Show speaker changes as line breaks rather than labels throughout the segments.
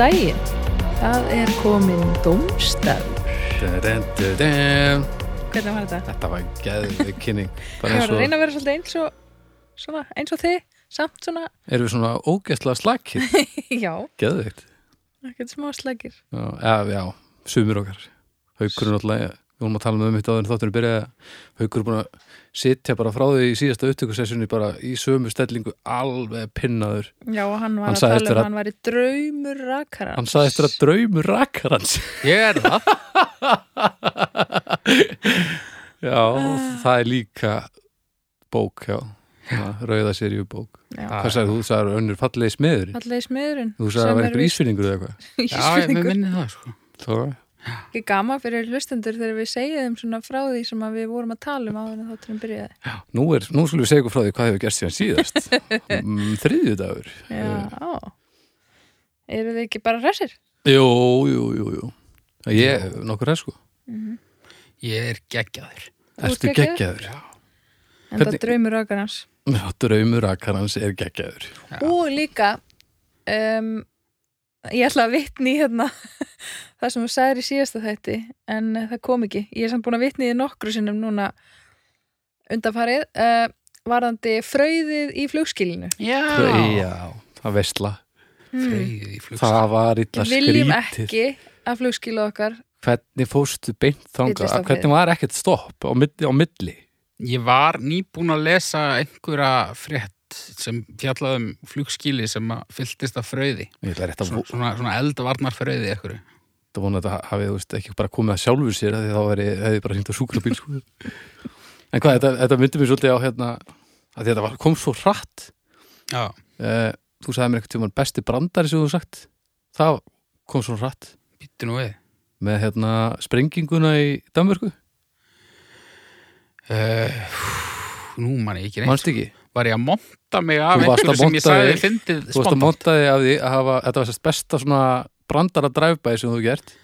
daginn. Það er komin domstafur.
Dun, dun, dun.
Hvernig var þetta?
Þetta var geðvig kynning bara
Ég
eins
var að
og
reyna að vera svolítið eins og, svona, eins og þið, samt svona,
erum við svona ógeðslega slakir
já,
geðvigt
ekkert smá slækir.
já, eða, já, sumir okkar haukur er náttúrulega við vorum að tala með um mitt áður en þáttunum byrjaði að haukur er búin að sitja bara frá því í síðasta upptökusessjunni bara í sömu stellingu alveg pinnaður
Já, og hann var
Hann
að
sagði eftir
tala um
að-
að hann væri draumur rakara.
hann saði eftir að draumur rakkar hans
Ég er það
já, og það er líka bók, já Svona rauða seríubók
Já,
hvað sagði þú, þú sagði önnur fallegi smiðurinn
allega í smiðurinn.
þú sagði að það var
sem er
einhver
víst-
ísfinningur eða eitthvað
Já, ég
Ísfirðingur.
minni það sko
Þóra?
Ekki gaman fyrir hlustendur þegar við segjum svona frá því sem að við vorum að tala um áður en þátturinn byrjaði.
Nú, er, nú skulum við segja ykkur frá því hvað hefur gerst síðan síðast mm, Þriðjudagur
Já, á. Eru þið ekki bara hressir?
Jú, jú, jú, jú Ég, nokkur er sko
Ég er geggjaður
Mhm. Þú ert
Ertu
geggjaður?
geggjaður?
En það
Hvernig-
draumur rakarans.
Já, draumur akkarans er geggjaður
Já.
og líka um, ég ætla að vitni í hérna það sem þú sagðir í síðasta þætti en eh, það kom ekki, ég er samt búin að vitni í því nokkru sinnum núna undanfarið uh, varðandi fröyðið í flugskilinu
Já Mm.
Já, það veistla
Hmm. Freyðið í flugst
Það var illa
við viljum
skrítið
ekki að flugskilu okkar
Hvernig fórstu beint þangað?
Villistoppið.
Hvernig var ekkert stopp á milli? Á milli?
Ég var nýbúin að lesa einhverja frétt sem fjallaði um flugskili sem að fylltist af fröði
Ég ætla rétt að
Svona,
vo-
svona, svona eldvarnar fröði ekkur
að vona að þetta hafið þú veist, ekki bara komið að sjálfur sér af því þá veri, hefði bara hringt á sjúkrabíl sko. En hvað, þetta, þetta myndi mér svolítið á hérna, að þetta var, kom svo hratt
Já,
Eh, þú sagði mér eitthvað tíma besti brandari sem þú hefur sagt það kom svo hratt
býttu nú við
með hérna sprenginguna í Danmörku,
uh, Nú man ég ekki neitt
mannst ekki
Var ég að monta mig af
Þú varst að
einhverju sem
monta
ég sagði
þig.
fyndið
þú varst að
spontan
montaði af því að hafa þetta var sérst besta svona brandara dræfbæði sem þú hefur gert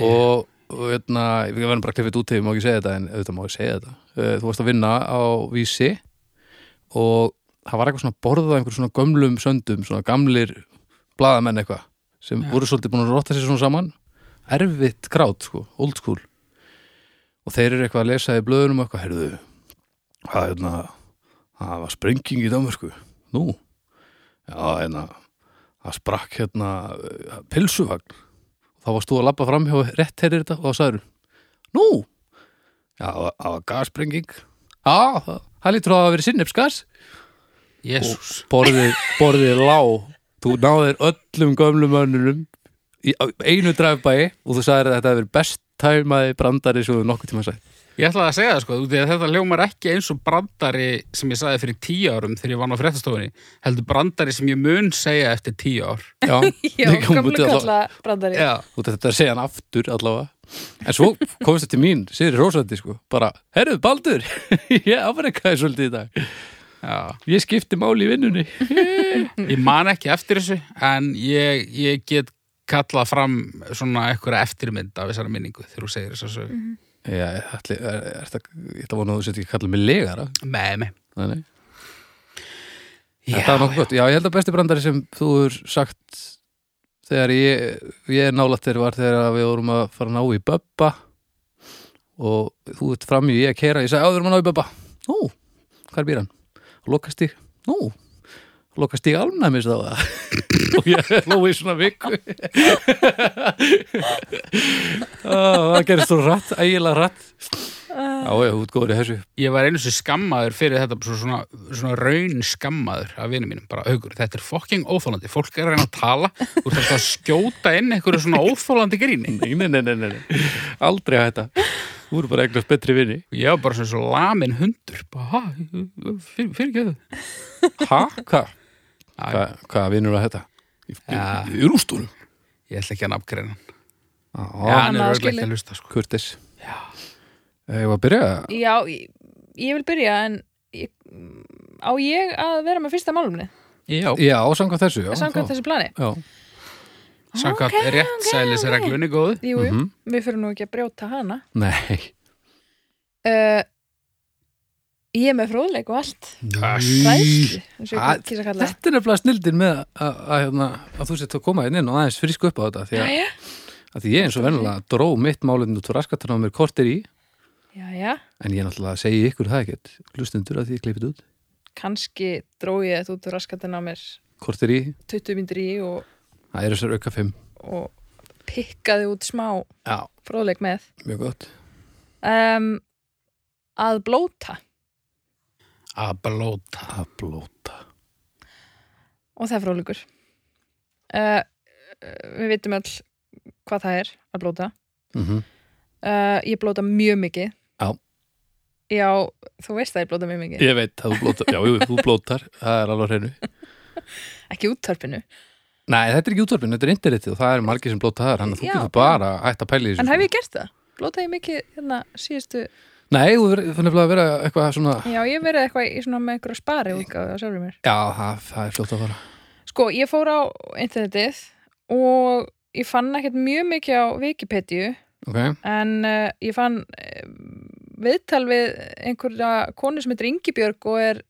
og, og hérna, við verðum bara klippið út til ég má ekki segja þetta en auðvitað má ég segja þetta Eh, þú varst að vinna á vísi og það var eitthvað svona borðað af einhverjum svona gömlum söndum svona gamlir blaðamenn eitthvað sem
Já.
voru svolítið búin að rotta sér svona saman erfitt krát sko, old school og þeir eru eitthvað að lesa í blöðunum og eitthvað, heyrðu hvað, hérna, það var sprenging í Danmarku nú, já, hérna það sprakk hérna eh, pilsuvagn þá varst þú að labba fram hjá rétt heyrir þetta og þá sagður nú, já, það var- það var gasprenging já, það, það lítur að hafa verið sinnepsgas
Jésús
borðið, borðið lá þú náðir öllum gömlum mönnunum í á einu drafbæi og þú sagðir að þetta hefur verið best tæmaði brandari sem þú nokkuð tíma sætt
Ég ætlaði að segja það sko, því að þetta ljómar ekki eins og brandari sem ég sagði fyrir tíu árum þegar ég vann á fréttastofunni, heldur brandari sem ég mun segja eftir tíu ár.
Já,
já,
ég kom
gamlu
út í allavega-
kalla brandari
Já,
og þetta er að segja hann aftur allavega en svo komst þetta til mín, Sigri Rósandi sko, bara, herruðu Baldur ég afrekaði svolítið í dag
já.
ég skipti máli í vinnunni
Ég man ekki eftir þessu, en ég, ég get kallað fram svona einhverja eftirmynd af þessari minningu þegar þú segir þessu. sögu.
Já, ætli, er, er, er, ég ætla að vona að þú sett ekki að kalla mig legara
Nei, nei.
Nei, nei.
Já,
Þetta var nokkuð gott, já ég held að besti brandari sem þú er sagt þegar ég, ég nálætt þér var þegar við vorum að fara að ná í Böbba og þú ert fram í ég að kera, ég sagði á við erum að ná í Böbba Nú, hvað er býran? Lokast ég, nú Lokast ég alnæmis þá það og ég hló í svona viku Ó, Það gerist þú rætt, ægilega rætt Já, já, þú ert góður í þessu
Ég var einu sem skammaður fyrir þetta svo- svona, svona raun skammaður af vinum mínum, bara augur, þetta er fokking óþólandi fólk er að reyna að tala, þú ert alltaf að skjóta inn einhverju svona óþólandi gríni
Nei, nei, nei, nei, nei, nei. aldrei að þetta Þú eru bara eignast betri vini
Ég var bara svona svo lamin hundur bara, ha, fyrir, fyrir ekki þau
Hæ? Hva?
Já,
Hva, hvað vinur að þetta? Í, í,
Ja.
í rústunum
Ég ætla ekki að nafngreina hann Já,
Já,
hann
á
er örugglega
skilið.
ekki að hlusta sko.
Kurtis Já Ég var að byrja
já ég, ég vil byrja en ég, á ég að vera með fyrsta málumni
Já,
Já, samkvæmt þessu já,
samkvæmt
þá-
þessu plani
Já,
samkvæmt
Ok,
okay, rétt sælis er reglunni góðu
jú,
Mhm.
jú, við fyrir nú ekki að brjóta hana
nei
uh, ég er með fróðleik og allt
Æ,
hræðslu, eins og
Að-
ég kýsa að kalla það.
Þetta er nefnilega snildin með að, að, hérna, að þú sett að koma hérna inn og aðeins frísku upp á þetta því að,
Jæja,
að því ég eins og venjulega dró mitt málinn út frá raskatunum á mér kortir í
jæja,
en ég náttúrulega segi ykkur það ekkert hlustundur að því ég kleipið út
kannski dró ég þetta út úr raskatina á mér
kortir í,
20 myndir í og,
það eru þessar auka 5
og pikkaði út smá
Já,
fróðleik með.
mjög gott
Um, að blóta
Að blóta.
að blóta
og það er fróðleikur. Uh, við vitum öll hvað það er að blóta.
mm
Uh, ég blóta mjög mikið.
Já.
Já, þú veist að ég blóta mjög mikið.
Ég veit að þú blótar, já, jú, þú blótar það er alveg á hreinu
Ekki úttarpinu.
Nei, þetta er ekki útvarpinu, þetta er internetið og það er margir sem blóta þar, þannig að þú
Já,
getur
já.
bara hætt að pæla í þessu
En
sko.
hef ég gert það? Blótaði ég mikið hérna síðustu
Nei, þú verður þú nefnilega að vera eitthvað svona
Já, ég hef verið eitthvað í svona með einhverja spari útgáðu á sjálfur mér.
Já, það, það er fljótt að fara
Sko, ég fór á internetið og ég fann ekkert mjög mikið á Wikipedia
Ok,
en uh, ég fann uh, viðtal við einhverja konu sem heitir Ingibjörg og er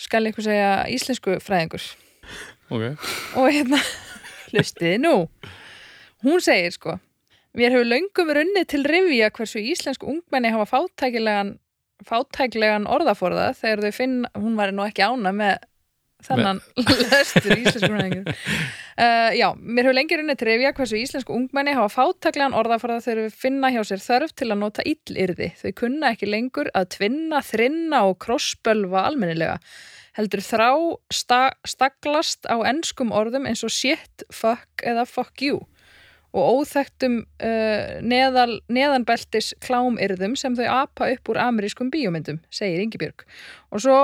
skal ég eitthvað segja íslensku fræðingur
ok
og hérna, hlustiði nú hún segir sko mér hefur löngum runnið til rifja hversu íslensk ungmenni hafa fátækilegan fátækilegan orðaforða þegar þau finn, hún var nú ekki ána með þannan lestur íslensku ungmenningur uh, já, mér hefur lengi runnið til rifja hversu íslensku ungmenni hafa fátækilegan orðaforða þegar þau finna hjá sér þörf til að nota illyrði þau kunna ekki lengur að tvinna, þrinna og krossbölva almennilega heldur þrá sta, staglast á enskum orðum eins og shit, fuck eða fuck you og óþektum uh, neðal, neðanbeltis klámirðum sem þau apa upp úr amerískum bíómyndum, segir Ingibjörg. Og svo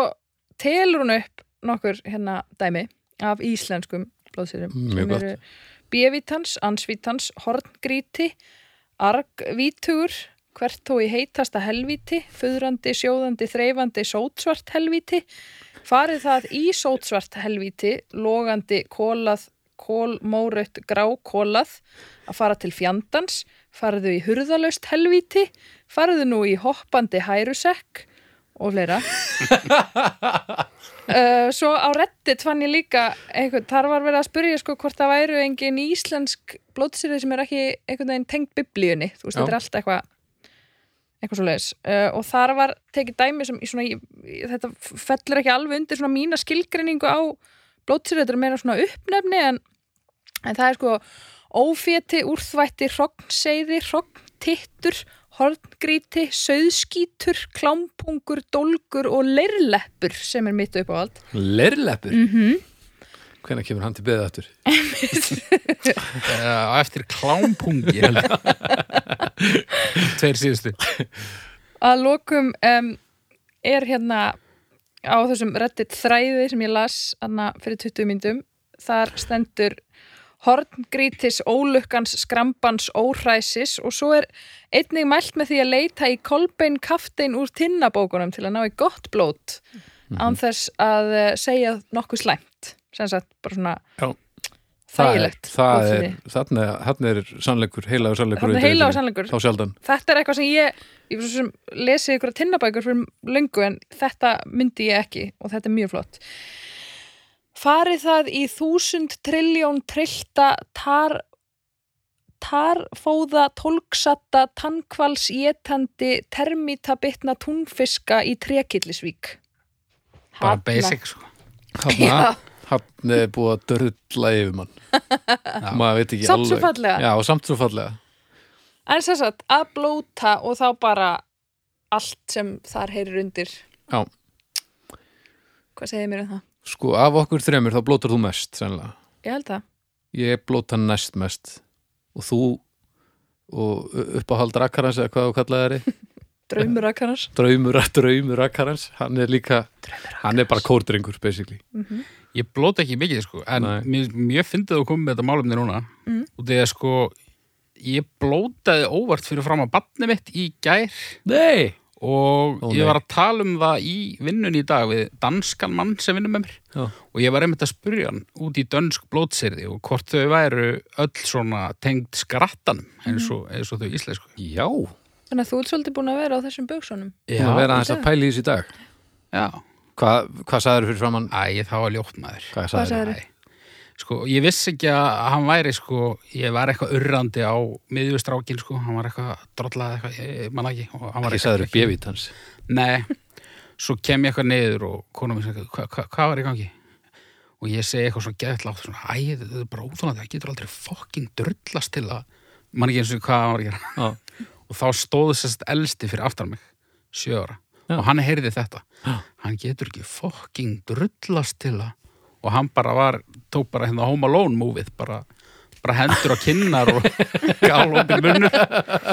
telur hún upp nokkur hérna dæmi af íslenskum blóðsýrum
Mm, Mjög
sem
gott.
eru bívitans, ansvítans, horngríti, argvítugur, hvert þó í heitasta helvíti, föðrandi, sjóðandi, þreifandi, sótsvart helvíti, farið það í sótsvart helvíti, logandi, kólað, kólmóraut, grákólað, að fara til fjandans, fariðu í hurðalaust helvíti, fariðu nú í hoppandi hærusekk og fleira. uh, svo á reddit fann ég líka, einhvern, þar var verið að spyrja sko hvort það væru engin íslensk blótsýrið sem er ekki einhvern veginn tengd biblíunni, þú veist,
Já.
þetta er allt eitthvað eitthvað svo leiðis uh, og þar var tekið dæmi sem í svona, í, í, þetta fellur ekki alveg undir svona mína skilgreiningu á blótsýrið, þetta er meira svona uppnefni en, en það er sko óféti, úrþvætti, hrognseiði, hrogntittur, horngríti, sauðskítur, klámpungur, dólgur og leirleppur sem er mitt upp á allt.
Leirleppur? Mm -hmm.
Mhm.
Hvenær kemur hann til beðið aftur?
Uh, á eftir klámpungi. held ég. Tveir síðustu.
Að lokum um, er hérna á þessum reddit þræði sem ég las anna, fyrir 20 myndum, þar stendur horngrítis, ólukkans, skrambans, óhræsis og svo er einnig mælt með því að leita í kolbein kaftein úr tinnabókunum til að ná í gott blót
Mhm.
án þess að eh, segja nokkuð slæmt sem sagt bara svona
Já.
þægilegt
Það
blótþynni.
er, þannig er, þannig er sannleikur, heilagur sannleikur
Þarna er
auðvitað
heilagur
í
sannleikur.
þessu. Þá sjaldan
þetta er eitthvað sem ég, ég var svo sem lesið ykkur tinnabækur fyrir löngu en þetta myndi ég ekki og þetta er mjög flott farið það í þúsund trilljón trillta tar tarfóða, tólksatta, tannkvals, étandi, termítabitna, túnfiska í trekillisvík.
Bara basic, sko.
Já.
Hann hann er búið að dörðla yfir mann Maður veit ekki
Samt
alveg
svo fallega.
Já, samt svo fallega
En sem sagt, að blóta og þá bara allt sem þar heyrir undir.
Já.
Hvað segir mér um það?
Sko, af okkur þremur þá blótar þú mest sannlega.
Ég held það.
Ég blóta næst mest Og þú og uppáhald rakkarans eða hvað þú kallaði þeirri
Draumur að kannars.
draumur, draumur rakkarans hann er líka, hann er bara kórdrengur basically
Ég blóta ekki mikið, sko, en
Nei.
mér, mér fyndið að koma með þetta málumni núna
Mm.
og því að, sko, ég blótaði óvart fyrir fram að batni mitt í gær
Nei!
og
Ó,
ég
nei.
var að tala um það í vinnun í dag við danskan mann sem vinnur með mér
Já.
og ég var einmitt að spurja hann út í dönsk blótsyrði og hvort þau væru öll svona tengd skrattanum eins og, eins og þau íslensku
Já,
Þannig að þú ert svolítið búin að vera á þessum buksunum
Búin að vera aðeins
í
að
dag.
pæla í þessu í dag
já.
Hvað, hvað sagður fyrir framann?
Æ, það var ljótt maður.
Hvað
Hvað
sagður?
sagðirðu?
Æ. Sko, ég vissi ekki að hann væri, sko, ég var eitthvað urrandi á miðjustrákin, sko, hann var eitthvað drollað eitthvað, ég- ég man það ekki. og hann var
Ekki
eitthvað-
sagður bjöfít hans
Nei, svo kem ég eitthvað niður og konum mér segir, hva, hva, hvað var í gangi? Og ég segi eitthvað svona geðtlátt, svona, æ, þetta er bara óþólandi, það getur aldrei fucking drullast til að, mann ekki eins og hvað hann var að gera.
Já.
Og þá stóðu sérst elsti fyrir aftan mig, sjö ára,
Já.
og hann heyrði þetta.
Já.
Hann getur ekki fucking drullast til að, og hann bara var, tók bara hérna Home Alone movie, bara, bara hendur á kinnar og gál opið munnur.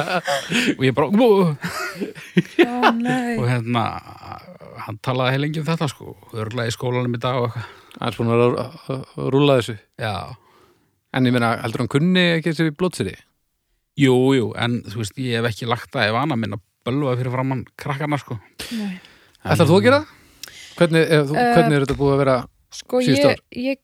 og ég bara, "Bú."
Ó, nei.
og hérna hann talaði heilengi um þetta sko örglega í skólanum í dag og eitthvað
Hann er búin að rú- að- að rúla þessu
já,
En ég meina, heldur hann kunni ekki þessi blótseri?
jú, jú, en þú veist ég hef ekki lagt það í vana minn að bölva fyrir framann krakkana sko
Nei.
Ætlar þú að gera það? Hvernig, ef þú,
Eh,
hvernig er þetta búið að vera
Sko
Síðustu
ég,
ár.
ég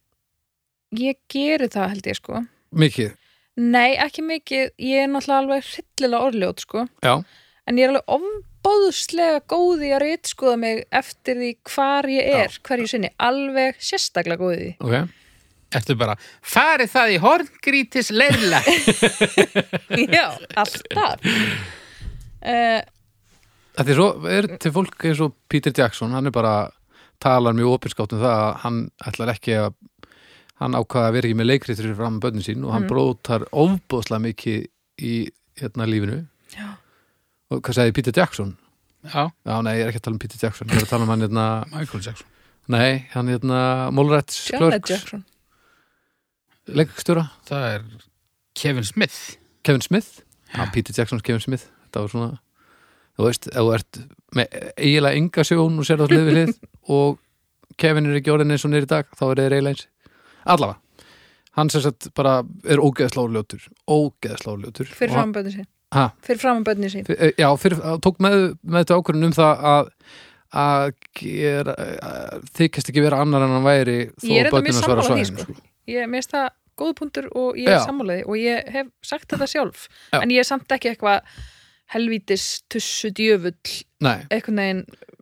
ég geri það held ég sko
mikið?
Nei, ekki mikið, ég er náttúrulega alveg hryllilega orðljót sko
Já,
en ég er alveg ofbóðslega góð í að reytskoða mig eftir því hvar ég er, hverju sinni alveg sérstaklega góð í því
ok
Ertu bara, farið það í horngrítis leirla
Já, alltaf uh,
Þetta er svo, er til fólk eins og Peter Jackson, hann er bara talar mjög opinskátt um það að hann ætlar ekki að hann ákvaða að vera ekki með leikritur fram bönnin sín og hann brótar ofbóðslega mikið í hérna lífinu
Já.
og hvað sagði Peter Jackson?
Já,
Já, nei, ég er ekki að tala um Peter Jackson, ég er að tala um hann hérna,
Michael Jackson
nei, hann hérna Mólræts
John Ed
Klörks,
Jackson
leikstjóra
Það er Kevin Smith
Kevin Smith, já, Peter Jacksons Kevin Smith þetta var svona þú veist, ef þú ert með eiginlega enga sjón og sér það hlið við hlið og Kevin er ekki orðin eins og hann er í dag þá er þeir eiginlega eins allavega, hann sem sagt bara er ógeðsláur ljótur ógeðsláur ljótur
fyrir fram bönni sín
Ha?
fyrir fram bönni sín
fyr, eh, já, fyrir, hann tók með, með þetta ákvörðun um það að að gera, að þykist ekki vera annar en hann væri þó
Ég er þetta
börnin
mjög
hans væru á
sammála því,
svæðinu,
sko. ég meðist það góð punktur og ég
Já.
er sammálaði og ég hef sagt þetta sjálf
Já.
en ég er samt ekki eitthvað helvítis tussu djöfull
Nei,
einhvern veginn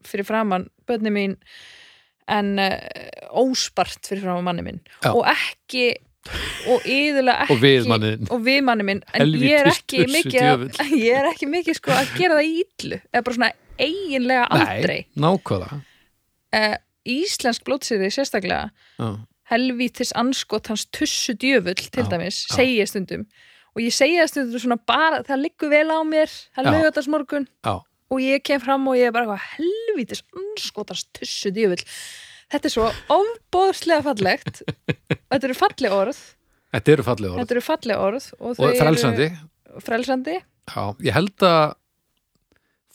fyrir framann bönni mín en uh, óspart fyrir framann manni minn
Já.
og ekki og yðurlega ekki
Og við manninn.
og við manni minn en
Helvítis
ég er ekki
tussu
mikið að,
djöfull.
ég er ekki mikið sko að gera það í illu eða bara svona eiginlega aldrei
nei, nákvæða
uh, Íslensk blótsýri sérstaklega
já,
helvítis anskot hans tussu djöfull til
Já,
dæmis,
já.
segi ég stundum og ég segi það stundum svona bara það liggur vel á mér, það
Já.
lögur þess morgun
já.
og ég kem fram og ég er bara eitthvað helvítis anskotans tussu djöfull þetta er svo ofbóðslega fallegt þetta eru falleg orð
Þetta eru fallega orð
þetta eru falleg orð og, þau
og
eru
frelsandi
frelsandi.
Já, ég held að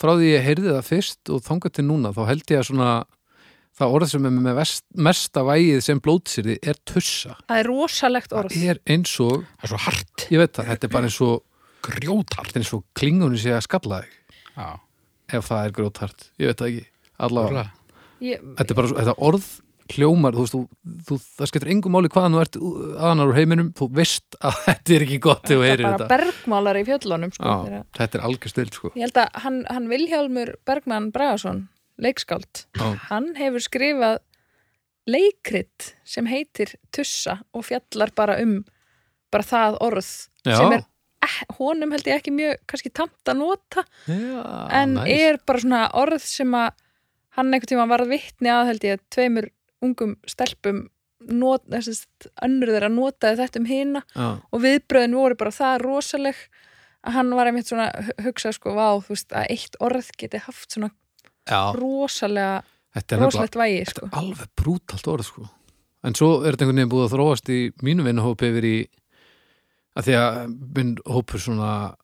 frá því ég heyrði það fyrst og þangað til núna þá held ég að svona það orð sem er með vest, mesta vægið sem blótsýrði er tussa
það er rosalegt orð
það er eins og,
Það er svo hart,
ég veit það, þetta er bara eins og
grjóthart
þetta er eins og klingunni sé að skalla þig
Já,
ef það er grótart, ég veit það ekki allavega,
örugglega.
ég,
þetta er bara svo, þetta orð hljómar, þú veist, þú, þú, það skiptir engum máli hvaðan þú ert aðanar úr heiminum þú veist að þetta er ekki gott þegar þú
það er
heyrir
bara
þetta
bergmálar í fjöllunum sko,
Já,
þegar-
þetta er algjör stil sko.
ég held að hann, hann Vilhjálmur Bergmann Bragason leikskáld,
Já.
hann hefur skrifað leikrit sem heitir Tussa og fjallar bara um bara það orð
Já.
sem er eh, honum held ég ekki mjög kannski tamt að nota
Já,
en
næs.
er bara svona orð sem að hann einhvern tíma varð vitni að held ég tveimur ungum stelpum not, þessist, önnur þeirra notaði þetta um hina
Já.
og viðbröðin voru bara það rosaleg að hann var einmitt svona hu- hugsa sko, vá, þú veist, að eitt orð geti haft svona
Já,
rosalega
Ah. þetta er nefnilega
rosalegt vægi, sko
alveg brútalt orð sko. en svo er þetta einhvern veginn búið að þróast í mínum vinahópi yfir í að því að minn hópur svona,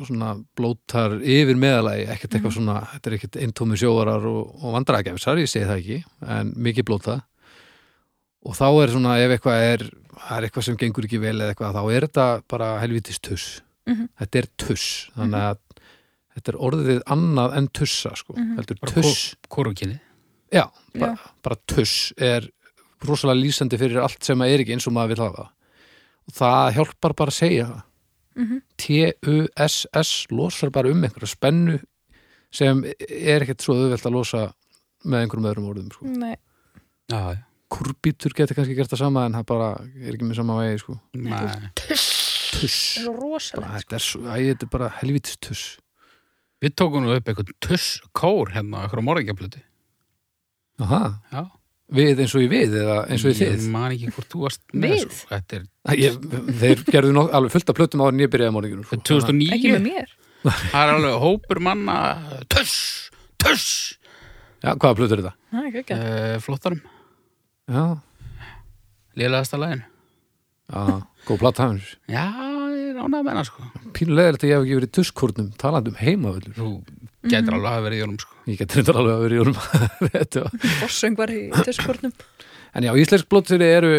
svona blótar yfir meðalagi, ekkert
Mhm.
eitthvað svona þetta er ekkert eintómi sjóarar og, og vandrækjafisar ég segi það ekki, en mikið blóta og þá er svona ef eitthvað er, það er eitthvað sem gengur ekki vel eða eitthvað, þá er þetta bara helvitis tuss
Mhm.
þetta er tuss þannig að þetta er orðið annað en tussa sko,
Mhm.
heldur
Bara
tuss
Kórukinni
Já, bara, bara tuss er rosalega lýsandi fyrir allt sem er ekki eins og maður vil hafa og það hjálpar bara að segja það
Mhm.
T-U-S-S losar bara um einhverja spennu sem er ekkert svo auðvelt að losa með einhverjum öðrum orðum sko.
Nei,
Já, já.
kurbítur getur kannski gert það sama en það bara er ekki með sama vegi sko.
Nei.
tuss
það er rosalega
bara, þetta, er svo, æ, þetta er bara helvítis tuss
Við tókum nú upp eitthvað tuss kór hérna, eitthvað morðingjaflötu.
Aha.
Já.
við eins og í við eða eins og í þið
Ég man ekki hvort þú varst með
Við?
þessu. Þetta er
ég, þeir gerðu nokk, alveg fullt af plötum áður en ég byrjaði morgunum sko.
Ekki
2009.
með mér
Það er alveg hópur manna tuss, tuss
já, hvaða plötur er það?
Nei, ekki ekki
uh, flottarum.
já,
Lélegasta lægin.
já, góð plata hans
Já, ég ránaði með hana sko.
pínulegilegt að ég hef ekki verið í tusskórnum talandi um heimavöllur
Þú getur alveg að vera í jólum sko.
ég getur þetta alveg að vera í jólum Þetta var-
Bossöng var Mm. í töskvornum
en já, íslensk blótsýri eru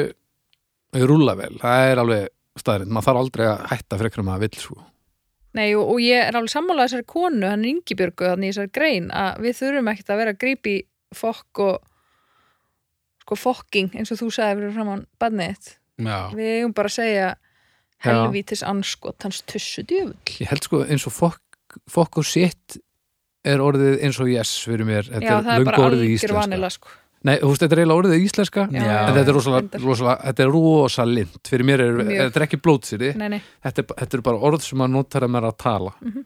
eru rúla vel, það er alveg staðrind, maður þarf aldrei að hætta frekar um að vill sko.
Nei, og, og ég er alveg sammála þessari konu, hann Ingibjörgu, þannig þessari grein að við þurfum ekkert að vera að grípi fokk og sko fokking, eins og þú sagði fyrir framann badnið,
Já.
við eigum bara að segja
Já.
helvítis anskot hans tussu djöfull
ég held sko eins og fokk, fokk og sitt er orðið eins og yes fyrir mér, þetta
Já,
er
það er
löngu
bara
orðið í
algjör
íslenska
vanila sko.
Nei, þú veist, þetta er eiginlega orðið í íslenska
Já.
en þetta er rosalega,
Reyndar.
rosalega, þetta er rosalind fyrir mér er,
Mjög.
þetta er ekki blótsýri
Nei, nei,
þetta er, þetta er bara orð sem maður notar að maður er að tala
Mhm.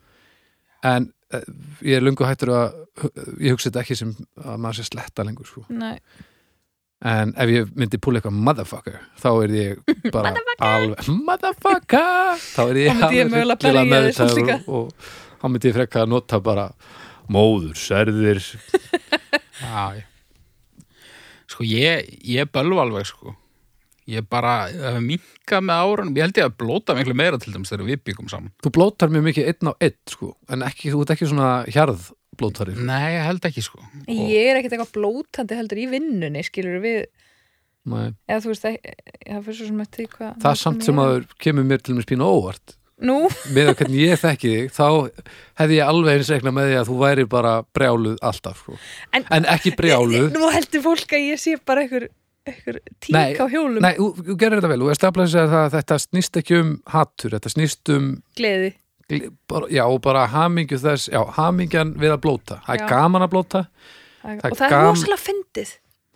en eh, ég er lungu hættur að ég hugsa þetta ekki sem að maður sé sletta lengur sko.
nei,
en ef ég myndi púla eitthvað motherfucker þá er ég bara alveg motherfucker þá er ég
Þá myndi ég
alveg
mögulega
hryllilega
berja þig samt
meðvitaður og, og þá myndi ég frekka að nota bara móður, særðir
Já, já. Sko ég, ég bölva alveg sko. Ég bara hef minkað með árunum. Ég held ég að blóta miklu meira til dæmis þegar við byggum saman.
þú blótar mjög mikið einn á einn sko. en ekki, þú ert ekki svona hjarð blótari
Mm.
sko.
Nei, ég held ekki sko. Og,
ég er ekkert eitthvað blótandi heldur í vinnunni, skilur við
Nei.
eða þú veist, það, það fyrir svo sem eftir því hvað
það er samt sem að kemur mér til mér spínu óvart
Nú,
með að hvernig ég þekki þig þá hefði ég alveg eins reikna með því að þú væri bara brjáluð alltaf sko.
En-
en, ekki brjáluð
nú heldur fólk að ég sé bara einhver, einhver tík
Nei,
á hjólum
Nei, þú, þú gerir þetta vel, þú er staflaðis að það, þetta snýst ekki um hattur, þetta snýst um
gleði
gl- bara, já, og bara hamingju þess, já, hamingjan við að blóta, það
Já.
er gaman að blóta
Það,
Það
og það
gam-
er rosalega fyndið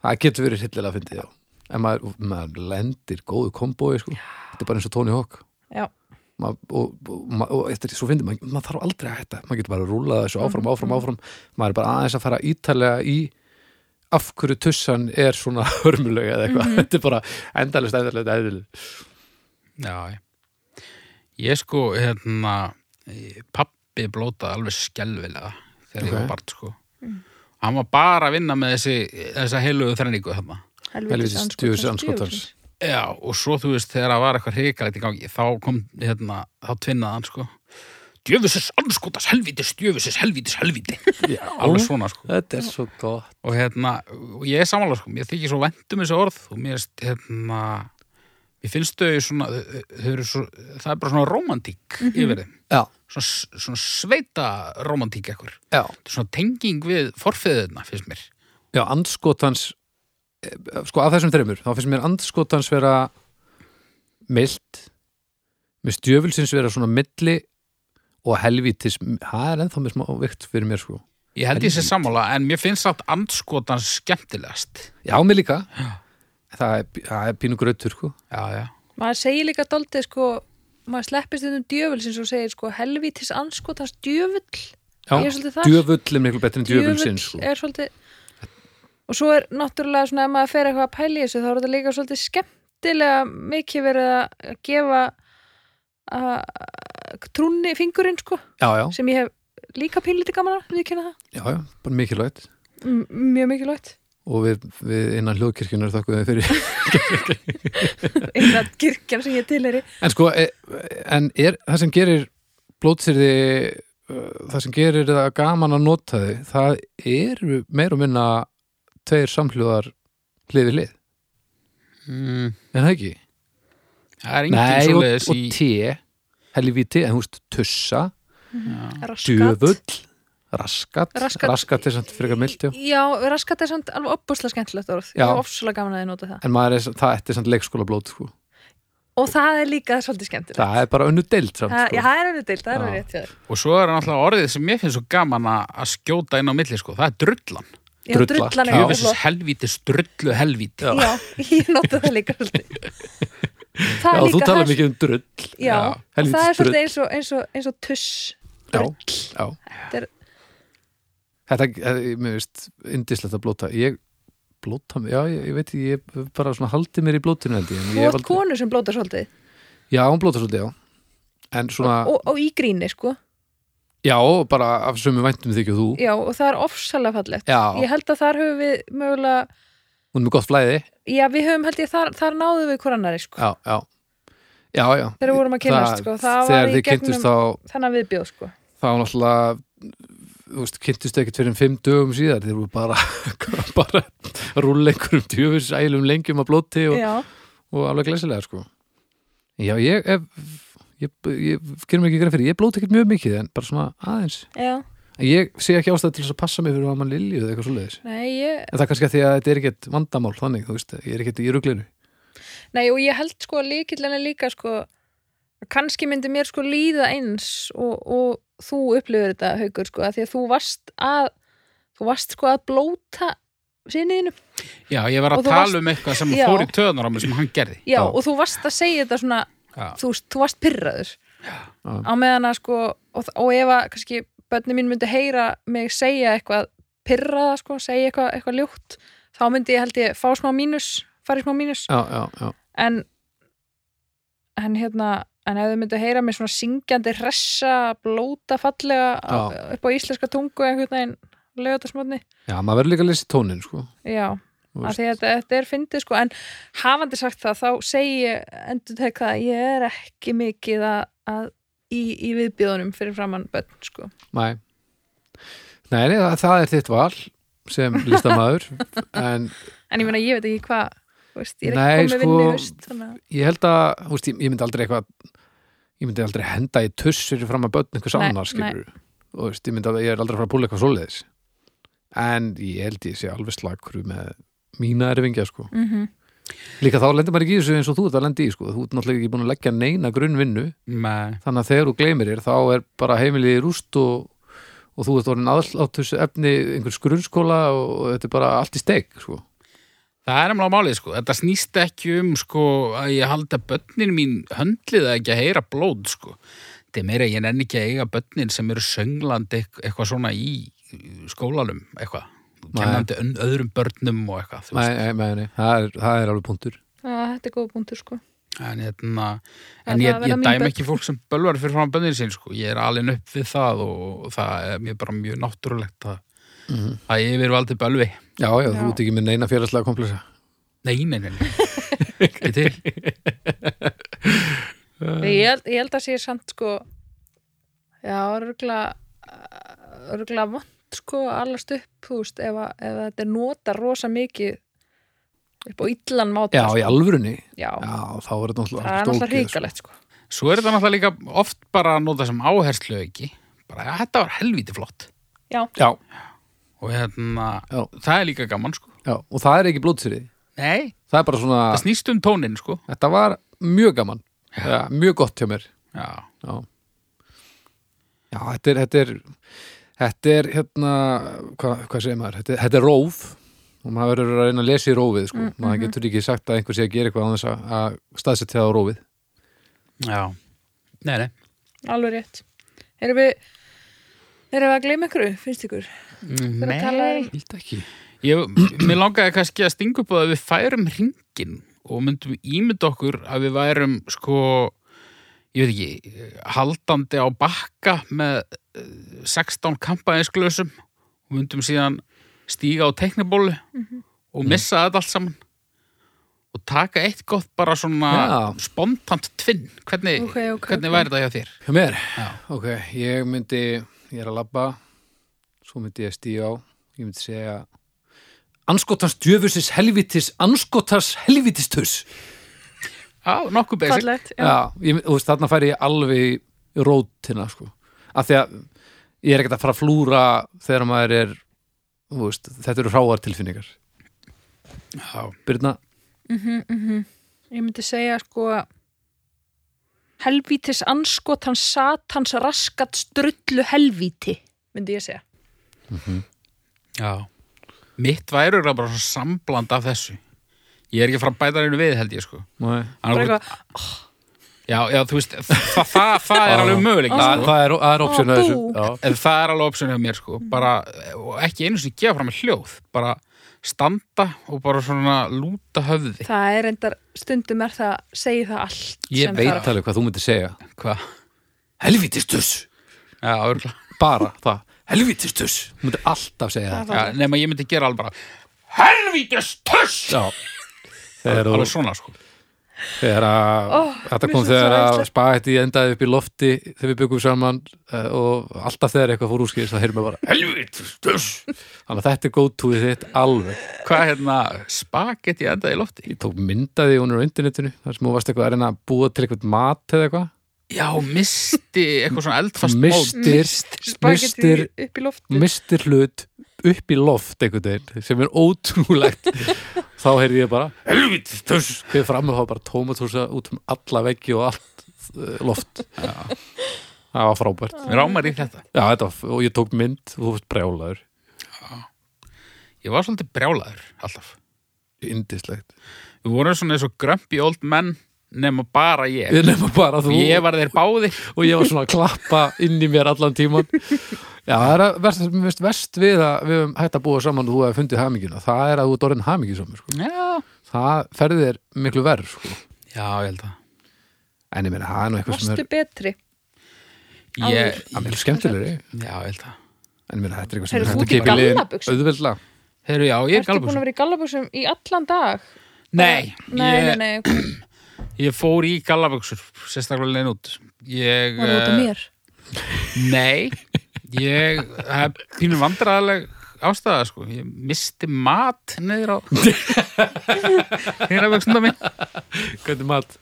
það getur verið hryllilega að fyndið, já en maður, maður lendir góðu kombói sko. þetta er bara eins og Tony Hawk
Já.
Ma, og, og, og, og eftir því svo fyndið maður, maður þarf aldrei að hætta, maður getur bara að rúla þessu áfram, áfram, áfram maður er bara aðeins að fara ítalega í af hverju tussan er svona hörmuleg eða eitthvað, þetta er bara endalist, endalist, endalist
já, já. Ég sko, hérna, pappi blótaði alveg skelvilega þegar ég
Ok.
var barn sko. Hann var bara að vinna með þessi, þessa heilugu þrenningu þarna.
Helvítis djöfulsins andskotans.
Já, og svo þú veist, þegar það var eitthvað hrikalegt í gangi, þá kom, hérna, þá tvinnaði hann, sko. Djöfusins anskotas helvítis, djöfusins helvítis helvíti.
Já.
Alveg svona, sko.
þetta er svo gott
Og hérna, og ég er samanlega, sko, mér þykir svo vendum þessi orð og mér, finnst, hérna, mér finnst þau svona, þau eru svo, það er bara svona romantík yfir þeim.
já,
Svona, s- svona sveita romantík ekkur.
já,
Þetta er svona tenging við forfeðina, finnst mér.
já, andskotans eh, sko af þessum þreymur, þá finnst mér andskotans vera mild með stjöfulsins vera svona milli og helvítis það er ennþá með smá vikt fyrir mér sko
Ég held ég sé sammála, en mér finnst satt andskotan skemmtilegast.
já, mér líka það er, það er pínu grötur sko
Já, já.
maður segir líka daldið sko maður sleppist þetta um djöfulsins og segir sko helvítis anskotans djöfull
já,
Ég er svolítið þar.
djöfull er miklu betri en djöfulsins sko.
er svolítið og svo er náttúrulega svona ef maður fer eitthvað að pæli þessu þá er þetta líka svolítið skemmtilega mikið verið að gefa að trúnni fingurinn sko
já, já,
sem ég hef líka pínlítið gaman að við kynna það,
já, já, bara mikilvægt
M mjög mikilvægt
og við, við innan hljóðkirkjunar þakkuðum við fyrir
einhverja kirkjan sem ég tilheri
En sko, e- en er það sem gerir blótsýrði uh, það sem gerir það gaman að nota þau það eru meir og minna tveir samhljóðar hlið við hlið,
Mm.
en það ekki?
Það er engin
Nei, og,
svoleiðis
og
í...
te helvíti, en húst, tussa
raskat
djöfull, raskat
Raskat.
raskat er samt frekar milt, já
Já, raskat er samt alveg opbúslega skemmtilegt orð
Já.
Ég er ofslega gaman að þið nota það
en maður er, það þetta er samt leikskóla blót sko.
og það er líka svolítið skemmtilegt
það er bara önnu deilt samt sko.
það, já, það er henni deilt, það er
Já.
alveg rétt hjá þér.
Og svo er náttúrulega orðið sem mér finnst svo gaman að að skjóta inn á milli, sko. Það er drullan.
Já,
Drulla.
drullan er
Já.
mjög
Jöfisins
flott.
helvítis, drullu helvíti.
Já, ég nota það líka svolítið Það
já,
er
þú
líka
talar
það-
mikið um drull
Já,
Já,
og það er
helvítis
svolítið eins og, eins og, eins og tuss
já,
drull.
já.
er-
þetta, eh, mér veist indislegt að blóta ég blóta mig, já, ég, ég veit ekki, ég hef bara svona haldið mér í blótinu held ég, en
Þú
ég hef
ert konu sem blótar svolítið
já, hún blóta svolítið, já en svona,
og, og í gríni, sko
já, bara af sömu væntum þykju þú,
Já, og það er ofsalega fallegt
já,
Ég held að þar höfum við mögulega
hún er með gott flæði
Já, við höfum held ég, þar, þar náðum við hver annari, sko
já, já, já, já
Þegar við vorum að kynnast, sko, það var
þegar
í
þið
gegnum-
kynntust þá
Þannig að við bjóð, sko
þá náttúrulega þú veist, kynntust ekkert fyrir en fimm dögum síðar þeir voru bara, bara rúla einhverjum djöfis ælum lengjum að blóti og,
Já,
og alveg glæsilega sko já ég ef, ég, ég gerum ekki greið fyrir, ég blóti ekkert mjög mikið en bara svona aðeins
já,
en ég sé ekki ástæð til þess að passa mig fyrir að mann lilju eða eitthvað svoleiðis
nei, ég
en það er kannski að því að þetta er ekkert vandamál þannig, þú veist, ég er ekkert í ruglinu
Nei, og ég held sko að líkillin er líka sko kannski myndi mér sko líða eins og, og þú upplifur þetta haukur sko, að því að þú varst að þú varst sko að blóta sinniðinu,
Já, ég var
Og
að
þú
tala
varst-
um eitthvað sem
Já.
fór í töðunar á mig sem hann gerði.
já,
Já.
og þú varst að segja þetta svona,
Já.
þú veist, þú varst pyrraður
Já.
á meðan að sko og, og ef að kannski bönni mín myndi heyra mig segja eitthvað pyrraða sko, segja eitthvað, eitthvað ljótt þá myndi ég held ég fá smá mínus fara í smá mínus
já, já, já,
en en hérna en ef þau myndu að heyra mig svona syngjandi hressa, blóta fallega
Já.
upp á íslenska tungu einhvern veginn lögatarsmotni
já, maður verður líka að lesa tónin sko,
já,
Þú
af
veist.
því að þetta, þetta er fyndið sko, en hafandi sagt það þá segi ég endur tek það að ég er ekki mikið að, að í, í viðbjóðunum fyrir framann bönn sko.
Nei. Nei, nei, það, það er þitt val sem listamaður en
en ég meina ég veit ekki hvað þú veist, ég er
Nei,
ekki komið
sko,
vinnu veist, þannig,
ég held að, þú veist, ég, ég myndi aldrei eitthvað ég myndi aldrei henda í tuss fyrir fram að börn einhvers
Nei,
annars, skilur og þú veist, ég myndi að ég er aldrei að fara að búla eitthvað svoleiðis en ég held ég sé alveg slagur með mína erfingja, sko
mm
líka þá lendir maður ekki í þessu eins og þú ert að lendi í, sko þú ert náttúrulega ekki búin að leggja neina grunnvinnu
Nei.
þannig að þegar þú gleymir þér þá er bara heimilið í rúst og, og þú ert orðin aðláttus efni einhvers grunnskóla og, og þetta er bara allt í steik sko.
Það er emla á málið, sko. Þetta snýst ekki um, sko, að ég halda börnin mín höndlið að ekki að heyra blóð, sko. Þetta er meira, að ég nenni ekki að eiga börnin sem eru sönglandi eitth- eitthvað svona í uh, skólanum, eitthvað.
Nei.
Kennandi ön- öðrum börnum og eitthvað,
nei,
þú veist.
nei, nei, nei. Það, er, það er alveg punktur
þetta er góð punktur sko.
En, hérna,
Það-
en
það
ég,
verða
ég
mín
dæm
börn.
ekki fólk sem bölvar fyrir frá bönnin sín, sko. Ég er alveg upp við það og það er mér bara mjög náttúrulegt að, að yfirvaldi bölvi.
já, já,
Já.
þú ert ekki með neina félagslega komplexa
Nei, nei, nei, nei. Ekki til.
ég held, ég held að sé samt sko já, örgla örgla vond sko að allast upp þú veist, ef, að, ef að þetta er nota rosa mikið upp á illan máta
já,
sko.
í alvörunni
já.
já, þá er þetta
það er
náttúrulega
alltaf
alveg stókið,
hrikalegt sko.
Svo er þetta náttúrulega líka oft bara að nota sem áherslu ekki. Bara, ja, þetta var helviti flott.
sko. já,
Og hérna,
Já.
það er líka gaman, sko.
já, og það er ekki blótsýri
Nei,
það er bara svona,
það snýst um tónin, sko.
þetta var mjög gaman ja, mjög gott hjá mér
Já,
já, já þetta er þetta er, þetta er hérna hvað, hvað segir maður, þetta, þetta er róf og maður verður að reyna að lesa í rófið sko. maður getur ekki sagt að einhver sé að gera eitthvað án þess að- að staðsetja það á rófið
já. Nei, nei.
alveg rétt erum við erum við að gleyma ykkur, finnst ykkur
Mm,
Þegar talað er um-
held ekki. Ég, mér langaði kannski að stinga upp á að við færum ringin og myndum ímynda okkur að við værum, sko, ég veit ekki, haldandi á bakka með eh, 16 kampaðinsglösum og myndum síðan stíga á teknibólu
Mhm.
og missa þetta allt saman og taka eitt gott bara svona
Já.
spontant tvinn. Hvernig,
Ok, ok,
hvernig
ok.
væri þetta hjá þér?
hjá mér,
Já.
ok, ég myndi ég er að labba svo myndi ég stíða á, ég myndi segja anskotans djöfusis helvitis anskotans helvitis tuss
Já, nokkuð basic.
fallegt já.
Já, ég, þú veist, þarna færi ég alveg í rótina, sko af því að ég er ekkert að fara að flúra þegar maður er þú veist, þetta eru hráar tilfinningar
Já.
Byrna,
Mhm, ég myndi segja sko helvítis anskot hans satans raskat strullu helvíti myndi ég segja
Já. Mitt væri örugglega bara svona sambland af þessu. Ég er ekki að fara að bæta einu við, held ég, sko.
Nei.
Hann
bara
er okkur-
eitthvað,
Já, já, þú veist, þa þa þa það er alveg möguleik.
Það,
sko.
það er, það er option
Ó,
að
bú.
þessu Já.
En það er alveg opsjón hjá mér, sko. Bara, og ekki einu sinni gefa fram hljóð. Bara standa og bara svona lúta höfði.
það er endar stundum er það segir það allt
Ég
sem
Veit
þarf.
alveg hvað þú myndir segja
Hvað?
Helvitistus
Já, örgulega.
Bara það Helvitistus Þú myndir alltaf segja það
Það
Já, nema ég myndi gera alveg bara Helvítis tuss!
Já Þegar,
Alveg
þú,
svona, sko.
þegar að,
Ó,
þetta
mér
kom
finnst
þegar
það
að
æðislegt.
spagetti endaði upp í lofti þegar við byggum saman eh, og alltaf þegar eitthvað fór úrskýrst það heyrðum við bara helvitis tuss. Þannig að þetta er góð túið þitt alveg
Hvað hérna, spagetti endaði í lofti?
ég tók myndaði hún á internetinu þar sem hún varst eitthvað að reyna að búa til eitthvað mat eða eitthvað
Já, misti eitthvað svona eldfast mót.
mistir,
spagetti
mistir,
upp í loftu
mistir hlut upp í loft einhvern veginn sem er ótrúlegt þá heyrði ég bara helvitis tuss við framöf hafa bara tómatúsa út um alla veggi og allt eh, loft það var frábært
Mér rámar í þetta.
Já, þetta, var- og ég tók mynd og þú veist brjálaður
Ég var svolítið brjálaður, alltaf.
indislegt
Við vorum svona eins og grömpi old menn nema bara ég.
við nefnum bara þú
Ég var þeir báðir.
og ég var svona að klappa inn í mér allan tíman Já, það er að verst, mér finnst verst við að við höfum hægt að búa saman og þú hefði fundið hamingina það er að þú ert orðin hamingisamur sko.
Já.
það ferðið er miklu verð sko.
Já, ég held að.
en ég meina, það er nú eitthvað sem
varstu
er
betri
Ég,
það er miklu skemmtilegri en
já, ég held að.
ég meina, þetta er eitthvað
Heyrðu,
sem er
þú
hægt
ert í
að keipa
gallabuxum?
auðveldlega
Heyrðu, já, ég er
ertu búin
galabús.
að vera í gallabúsum í allan dag
Nei,
nei,
ég,
nei, nei, ok.
ég fór í galaböksur, sérstaklega leginn út. Ég,
var það út af
eh,
mér
Nei, ég það er pínu vandræðaleg ástæða sko, ég misti mat niður á hérna vöxnda minn
hvernig mat?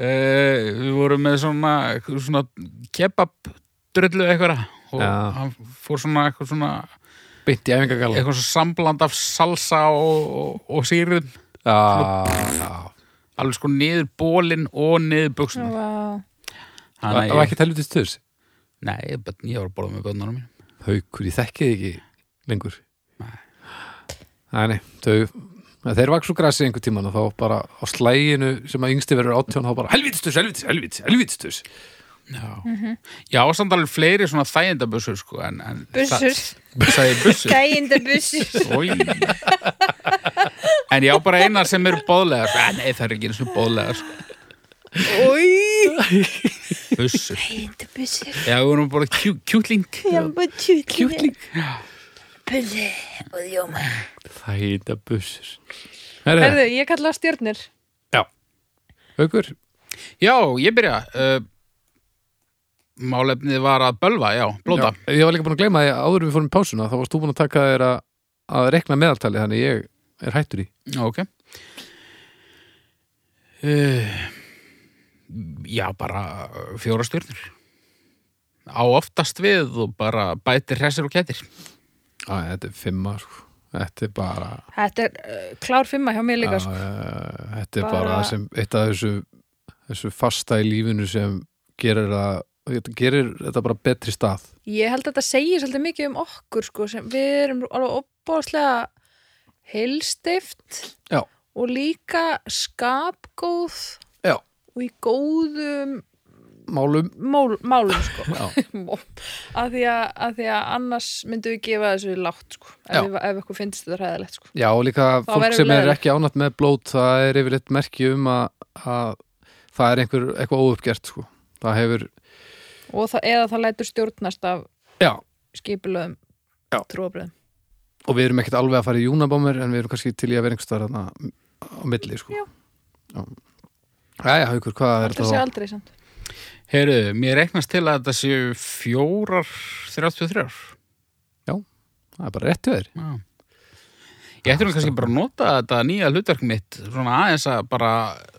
uh, við vorum með svona, svona kebab drullu eitthvað og
Já.
hann fór svona eitthvað svona
beint í æfingagalla
eitthvað svona sambland af salsa og, og, og sýrun
Já, já.
alveg sko niður bólinn og niður
Ó,
buksuna
vá.
og
Nei,
ekki telvitist þurs
ég, börn- ég var að borða með bönnunum mínum
haukur, ég þekki þið ekki lengur Nei, nei, þau að þeir vaks úr grasi einhver tíman og þá bara á slæginu sem að yngsti verður átján þá bara helvitistus, helvitistus, helvitistus, helvitistus
Já, mm -hmm. já og samt alveg fleiri svona þægindabussur sko, en, en
Bussur.
það- sagði bussur
gæindabussur
Oj. En ég á bara einar sem eru bóðlegar sko. Eh, Nei, það er ekki eins og bóðlegar sko. Bussur
gæindabussur
Já, við vorum bara kjú, kjúkling
kjúkling bussur og
Eh.
jóma
Það heita bussur Herðu,
Herðu, ég kalla stjörnir
haukur,
Já, ég byrja uh, Málefnið var að bölva, já, blóta
já, ég var líka búin að gleyma því að áður en við fórum í pásuna þá varst þú búin að taka þér að, að rekna meðaltali þannig ég er hættur í
Já, ok uh, Já, bara eh, fjóra stjörnur Á oftast við og bara bætir hressir og kettir
Æ, þetta er fimma, sko Þetta er bara,
Þetta er uh, klár fimma hjá mér líka
að,
sko.
þetta er bara,
Bara-
það sem, eitt af þessu, þessu fasta í lífinu sem gerir, að, þetta gerir þetta bara betri stað
Ég held að þetta segir svolítið mikið um okkur sko, sem við erum alveg opbóðslega heilstift
Já.
og líka skapgóð
Já.
og í góðum
málum
mál, málum sko.
Já.
af, því að, af því að annars myndum við gefa þessu lágt sko, ef,
Já.
við, ef okkur finnst þetta hræðilegt sko.
Já, og líka fólk
verður
sem er
leiðilegt.
ekki ánætt með blót það er yfirleitt merki um að, að það er einhver, eitthvað óuppgert sko. það hefur,
og það, eða það lætur stjórnast af
já
skipulöðum
Já.
trúabröðum
og við erum ekkert alveg að fara í júnabómur en við erum kannski til í að vera einhver staðar þarna á milli sko.
Já.
Já, Jæja, haukur, hvað er
Þetta sé
þetta þá?
aldrei samt
Heyrðu, mér reiknast til að þetta séu fjórar 33
Það er bara rétt hjá þér
Já. Ég ætti nú kannski bara að nota þetta nýja hlutverk mitt svona aðeins að bara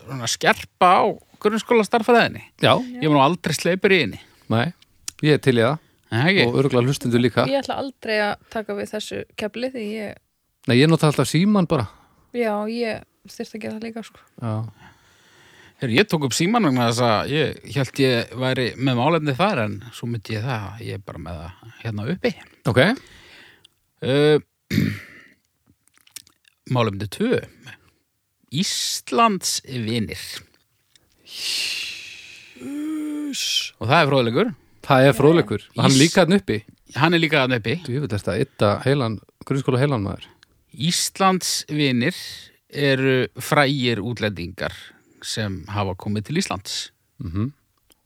svona skerpa á grunnskóla starfæðinni
Já,
Ég var nú aldrei sleipur í henni
nei, ég er til í það
Nei, ekki?
og örgulega hlustendur líka
Ég ætla aldrei að taka við þessu kefli því ég,
Nei, ég nota alltaf síman bara
já, ég þyrst að gera það líka sko.
Já,
Heru, ég tók upp síman vegna þess að ég held ég væri með málefni þar en svo myndi ég það, ég er bara með það hérna uppi.
Ok,
Uh, málefni 2 Íslands vinir Og það er fróðleikur
það er fróðleikur Hann
Ís-
líka hann uppi
Hann er líka að nöppi
Þú veit þetta, ytta heilan, grunnskóla heilan maður
Íslands vinir eru frægir útlendingar sem hafa komið til Íslands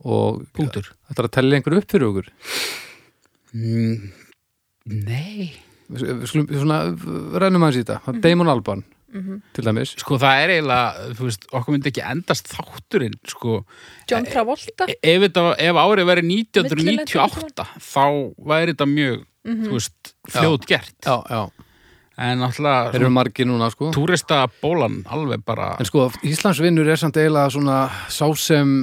Og
Punktur
þetta er að tella einhver upp fyrir okkur
mm, Nei
Við við skulum svona, rennum aðeins í þetta mm Damon Alban, til dæmis
Sko það er eiginlega, þú veist, okkur myndi ekki endast þátturinn sko
John Travolta
E- ef, þetta, ef árið væri 1998 þá væri þetta mjög þú veist, fljót gert
Já, já Þeir
en náttúrulega
eru margir núna, sko
túrista bólan alveg bara
En sko, Íslandsvinnur er samt eiginlega svona sá sem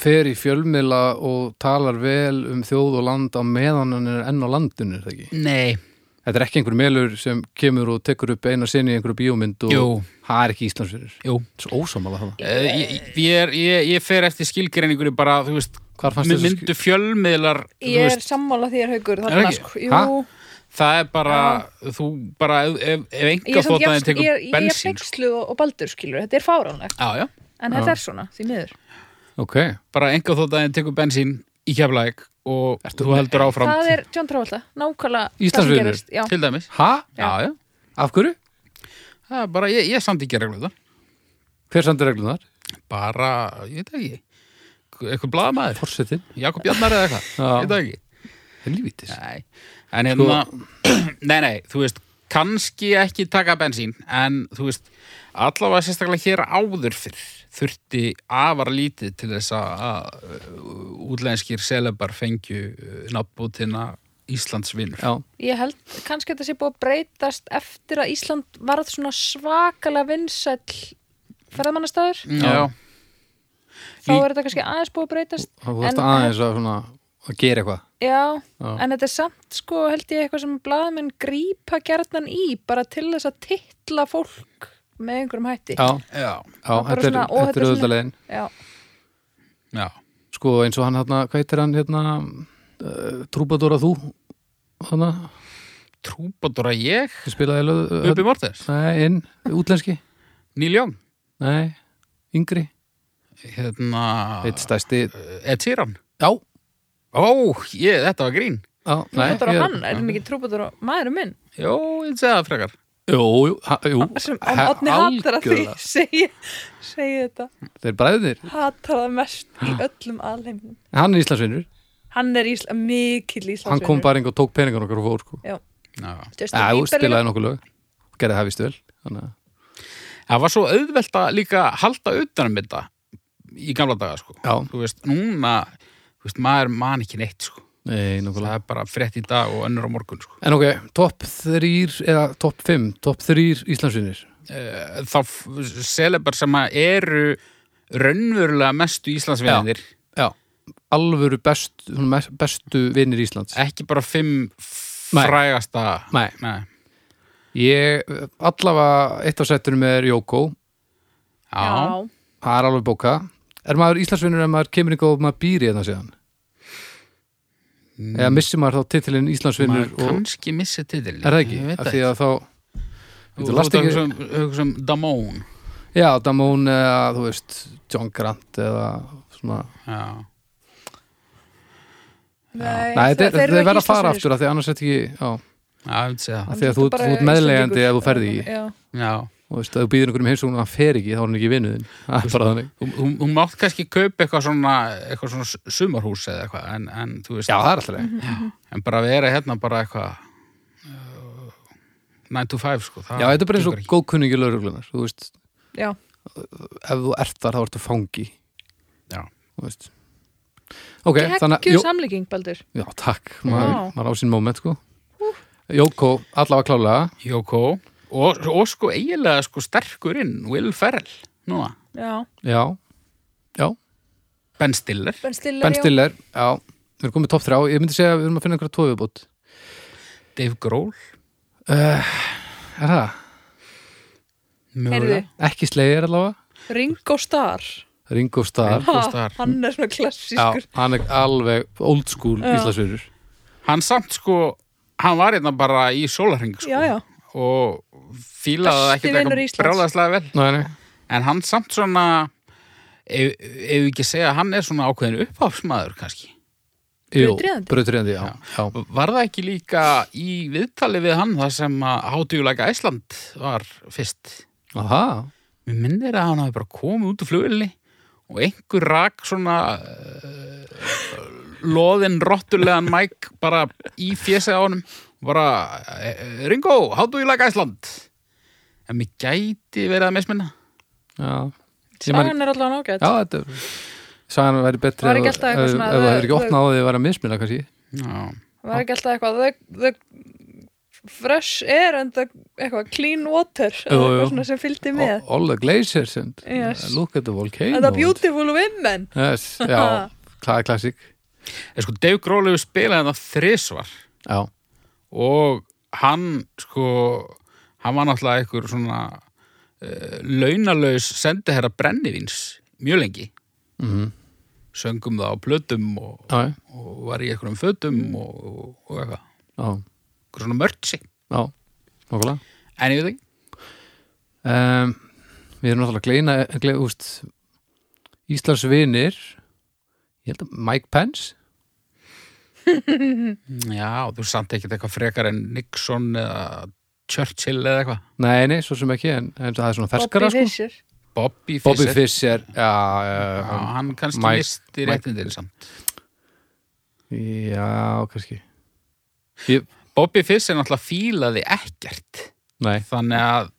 fer í fjölmiðla og talar vel um þjóð og land á meðan hann er enn á landinu, er það ekki?
nei,
Þetta er ekki einhver melur sem kemur og tekur upp eina sinni í einhverju bíómynd og
jú,
það er ekki Íslandsvinnur.
jú
Þetta er svo ósamála það.
Eh, ég, ég, er, ég, ég fer eftir skilgreiningur bara, þú veist,
Hvar fannst
með
þessu
myndu fjölmiðlar þú
Ég er
veist,
sammála þér haugur
Er
þarna
ekki?
sko.
Ha?
Jú,
það er bara þú bara, ef, ef, ef
ég er
enga
samt
þótaðin
jafn-
tekur
ég er- ég er
bensín sko.
peikslu og og baldur skilur Þetta er fáránlegt,
já, já,
en
Já.
þetta er svona því miður
Ok,
bara enga þótaðin tekur bensín í keflæk og þú heldur áfram
Eh, Það er John Travolta, nákvæmlega það sem
Íslandsvinur.
gerðist, já.
til dæmis
ha?
já, já,
Af hverju?
það er bara, ég, ég samt ekki reglum
Hver samt er reglunar?
bara, ég veit það ekki eitthvað blaðamaður,
Forsetin?
Jakob Jarnar eða eitthvað
Já.
ég veit það ekki
Helvítis.
nei. en hérna, nei nei, þú veist kannski ekki taka bensín en þú veist, allavega sérstaklega hér áður fyrr þurfti afar lítið til þess að- að uh, útlenskir selebar fengju uh, nafnbútina Íslandsvinnur
Já,
Ég held kannski þetta sé búið að breytast eftir að Ísland varð svona svakalega vinsæll ferðamannastæður
já,
þá
Í-
er þetta kannski aðeins búið að breytast
þá þú ert
En-
aðeins að, svona, að gera eitthvað.
já,
Já.
en þetta er samt sko held ég eitthvað sem blaðmenn grípa gerðnan í bara til þess að titla fólk með einhverjum hætti
Já,
já,
já,
er bara
þetta er,
svona- og þetta
þetta
er
er
svona-
auðvitaðlegin.
Já.
já.
Sko eins og hann hérna, hvað heitir hann hérna, uh, Trúbadóra þú? Hanna,
trúbadóra ég
sem spilaði löð...
Bubi Mortens,
Nei, inn, útlenski?
Neil Young
Nei, yngri?
hérna,
Eitt stæsti...
Ed Sheeran
Já,
Ó, ég, þetta var grín
já, nei.
Trúbadóra
ég-
hann, er hann ekki trúbadóra maðurinn minn
Jó, ég segi það frekar
Jú, jú, ha, jú.
sem
he-
átni hatar að því
algjörlega.
segi, segi þetta
Þeir bræðir.
hatar það mest í öllum alheimin
Hann er Íslandsvinnur.
hann er Ísla, mikill Íslandsvinur
Hann kom bara einhver og tók peningar okkar og fór sko.
Já.
Justin
Já,
Bieber líka.
spilaði nokkuð lög. Gerði það vist vel. Þannig að...
Það var svo auðvelt að líka halda utanum þetta í gamla daga sko.
Já,
Þú veist, núna þú veist, maður man ekki neitt sko.
nei,
Það
nokkulega.
er bara frétt í dag og önnur á morgun sko.
En ok, topp þrýr, eða topp fimm, topp þrýr Íslandsvinnir.
Eh, Þá f- selebar sem að eru raunverulega mestu Íslandsvinir
Já. Alvöru best, svona mest- bestu vinnir Íslands.
ekki bara fimm
Nei.
frægasta
Nei.
Nei.
Ég, allavega eitt af sættunum er Jókó.
Já.
já,
Það er alveg bóka. Er maður Íslandsvinnur ef maður kemur ykkur og maður býr í þetta síðan? Eða missir maður þá titilinn Íslandsvinnur
maður
og...
kannski missi titilin
Er það ekki?
Ég veit
Af
það
því
ekki
að þá...
Þú
Þú
þú
last
ert að
ekki...
hugsa um- hugsa um Damón
Já, Damón eða, þú veist, John Grant eða svona...
Já
nei,
Nei,
þeir-
þetta
þeir
er-
eru
þeir
ekki
verða að fara
Íslandsvinir, sko.
aftur af því annars er þetta ekki... Já,
Já, ég veit segja það.
af því að þú ert-
bara
þú ert meðlegandi
Íslendingur.
ef þú ferði ekki.
Já.
Já.
Og veist, ef þú býður einhverjum heimsókn og hann fer ekki, þá er hann ekki vinnuðin. Það er bara þannig.
Þú, þú, þú mátt kannski kaupa eitthvað svona, eitthvað svona s- sumarhús eða eitthvað, en, en þú veist,
Já, það er alltaf leið.
Mhm. en bara vera hérna bara eitthvað uh, 9 to 5, sko. það
Já, þetta er bara eins og
gengur ekki.
góðkunningi lauruglunar. Þú veist,
Já.
ef þú ert þar, þá ertu fangi.
Já.
Þú veist. Ok, þannig
Gekkju
að... Jó,
samlíking, Baldur
já, takk. Maður,
Já.
maður á sín moment, sko. Jóko, allavega klálega.
Jókó, og, og sko eiginlega sko sterkurinn, Will Ferrell, núna,
Já,
Já. Já.
Ben Stiller.
Ben Stiller,
Ben
já.
Stiller, já. Við erum komið topp þrjá. Ég myndi segja að við erum að finna einhverja tófiðbútt.
Dave Grohl,
Er það?
Heyrðu,
mögulega.
Ekki slegir allavega?
Ringo Starr
Ringo Starr
Ringo Starr.
hann er svona
Já,
klassískur
hann er alveg old school
Já.
íslasverur
Hann samt sko, hann var hérna bara í sólarhing sko
já, já,
og fílaði það
Besti
ekkert
vinur
eitthvað
Íslands.
brjálæðislega vel
Nei, nei,
en hann samt svona ef ef við ekki segja að hann er svona ákveðin upphafsmaður kannski
jú,
Brautryðjandi.
bröðtriðandi, já, já.
Var það ekki líka í viðtali við hann þar sem að hátíðuleika Æsland var fyrst?
Aha,
Mér minnir að hann hafi bara komið út úr flugilni og einhver rak svona uh, loðin rottulegan mæk bara í fjesið á honum og bara, eh, Ringo, hátíðuleika Æsland en mér gæti verið að misminna
já Ég man-
sagan er allavega nágætt
Já, þetta Sagan væri betri
Var ekki
ef-
alltaf eitthvað
ef-
svona-
Ef það er ekki
þau-
opnað á því að vera að mismila kannski
Já,
var ekki alltaf eitthvað the, the fresh air and the eitthvað clean water eða
jú.
eitthvað svona sem fylgdi með
All all the glaciers and uh,
Yes.
Look at the volcano
and the beautiful women
yes, Já, það er klassik
en sko Dave Grohl hefur spilað þetta þrisvar
Já,
og hann sko, hann var náttúrulega einhver svona uh, launalaus sendiherra brennivins mjög lengi,
mm
söngum það á plötum og,
já,
og var í einhverjum fötum og, og, og eitthvað,
já,
einhver svona mörtsi
já Nókulega
en ég veit ekki,
um, Við erum náttúrulega að gleina, gleina úst, Íslands vinir Ég held að Mike Pence
já, þú samt ekkert eitthvað frekar en Nixon eða Churchill eða eitthvað,
Nei, nei, svo sem ekki En, en það er svona ferskara sko.
Bobby Fischer
Bobby
Bobby
Fischer
Fischer Já, já,
Já,
já,
hann kannski
Mike-
misti
Mike-
réttindin samt
já kannski
Bobby Fischer náttúrulega fílaði ekkert
Nei,
þannig að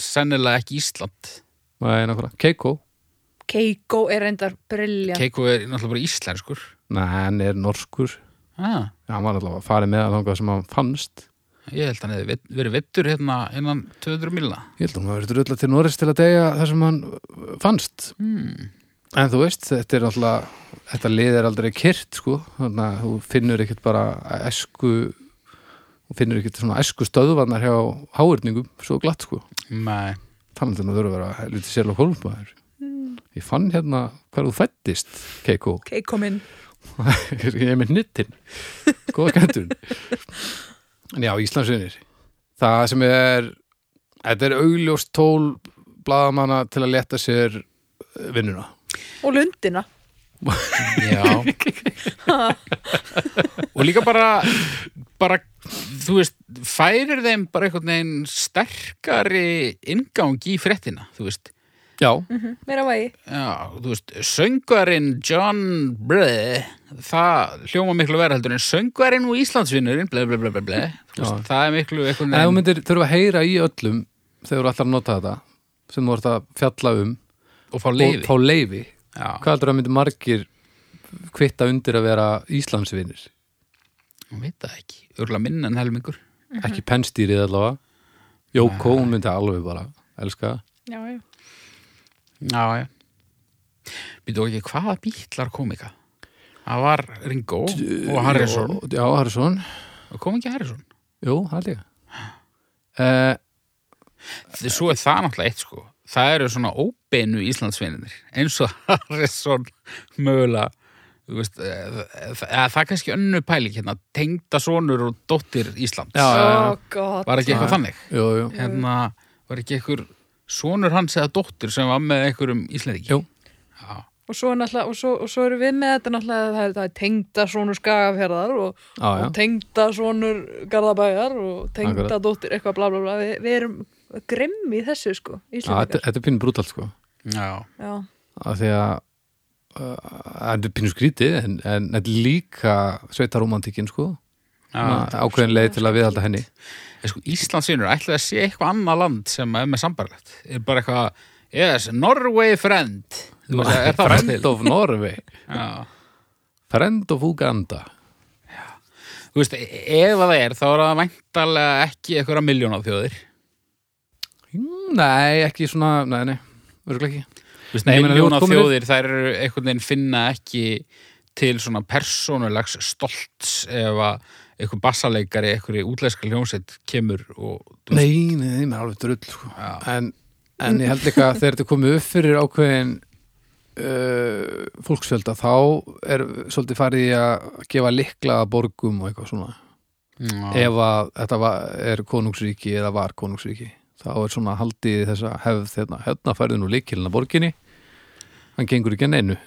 sennilega ekki Ísland
nei, nákvæmlega Keiko
Keiko er reyndar briljant
Keiko er náttúrulega bara íslenskur
Nei, hann er norskur
ah,
Já, hann var allavega farið með að þangað sem hann fannst
Ég held að hann hefði vit- verið vittur hérna innan 200 milna
Ég held að hann verið drulla til Norris til að deyja þar sem hann uh, fannst
hmm.
En þú veist, þetta er alltaf þetta lið er aldrei kyrt, sko þannig að þú finnur ekkert bara esku þú finnur ekkert svona esku stöðvarnar hjá háurningum svo glatt, sko
Nei, þannig
þannig að það þurfa að vera lítið sérlega hólmaður Ég fann hérna hvar þú fættist, Keiko
Keiko minn
ég er með nittin góða kæntun en já, Íslandsvinir það sem er þetta er augljóst tól blaðamanna til að leta sér eh, vinnuna
og lundina
Já Og líka bara bara, þú veist færir þeim bara einhvern veginn sterkari inngang í fréttina þú veist,
já,
meira vægi
já, þú veist söngarinn John Bleh, það hljóma miklu vera heldur en söngarinn og Íslandsvinnurinn bleh, bleh, bleh, bleh, bleh, þú veist, það er miklu einhvern
en ef þú
veginn
myndir þurfa að heyra í öllum þegar þú ætlar að nota þetta sem þú ert að fjalla um
og fá
og
leifi
fá leifi
Já.
hvað heldur að myndir margir kvitta undir að vera Íslandsvinir
Hún veit það ekki, örgulega minna en helmingur
ekki pennstýrið allavega Jóko, hún myndi alveg bara elska það
já, já.
Já, já Býtu ekki, hvaða bítlar kom ekki? Það var Ringo og Harrison
já, Harrison
Kom ekki Harrison?
Jú, það líka uh,
Þi- Svo er það náttúrulega eitt sko Það eru svona óbeinu Íslandsvinninir eins og Harrison mögulega þú veist, eða, eða, það er kannski önnu pæling hérna tengda sonur og dóttir Íslands
Já, já, já.
oh god
Var ekki eitthvað
Já.
þannig?
Jú, jú,
Hérna, var ekki einhver sonur hans eða dóttir sem var með einhverjum Íslandingi?
Jú.
Já
og svo, er náttúrulega- og, svo, og svo eru við með þetta náttúrulega að það er, það er tengda svonur skagafjörðar og,
já, já,
og tengda svonur garðabæjar og tengda
Akkurat.
dóttir eitthvað bla bla bla við, við erum grimm í þessu sko
já þetta,
Íslendingar
þetta er pínu brútalt sko
Já
já,
af því að uh, þetta er pínu skrítið en, en þetta er líka sveitaromantikin sko
Já,
Svona ákveðin leið til að viðhalda henni
En sko, Íslandsvinur, ætlaði að sé eitthvað annað land sem er með sambarlegt. Er bara eitthvað, yes, Norway friend. Þú veist, er það bara
Friend
til?
of Norway
Já.
Friend of Uganda
Þú veist, e- ef það er, þá er það væntalega ekki eitthvað miljón á þjóðir.
Mm, Nei, ekki svona, nei, nei, örgulega ekki
Þú veist,
Nei, ég meina, þú
miljón á
ert komin upp-
þjóðir, þær eru einhvern veginn finna ekki til svona persónulegs stolts ef að einhver bassaleikari, einhver útlæðska hljómsveit kemur og... þú veist,
Nei, nei, nei, maður er alveg drull sko.
Já.
en, en ég held líka að þegar þetta komið upp fyrir ákveðin uh, fólksfjölda þá er svolítið farið í að gefa likla að borgum og eitthvað svona
Já.
ef að þetta var, er konungsríki eða var konungsríki þá er svona haldið í þessa hefð hérna, hérna færði nú líkilina borginni hann gengur ekki að neinu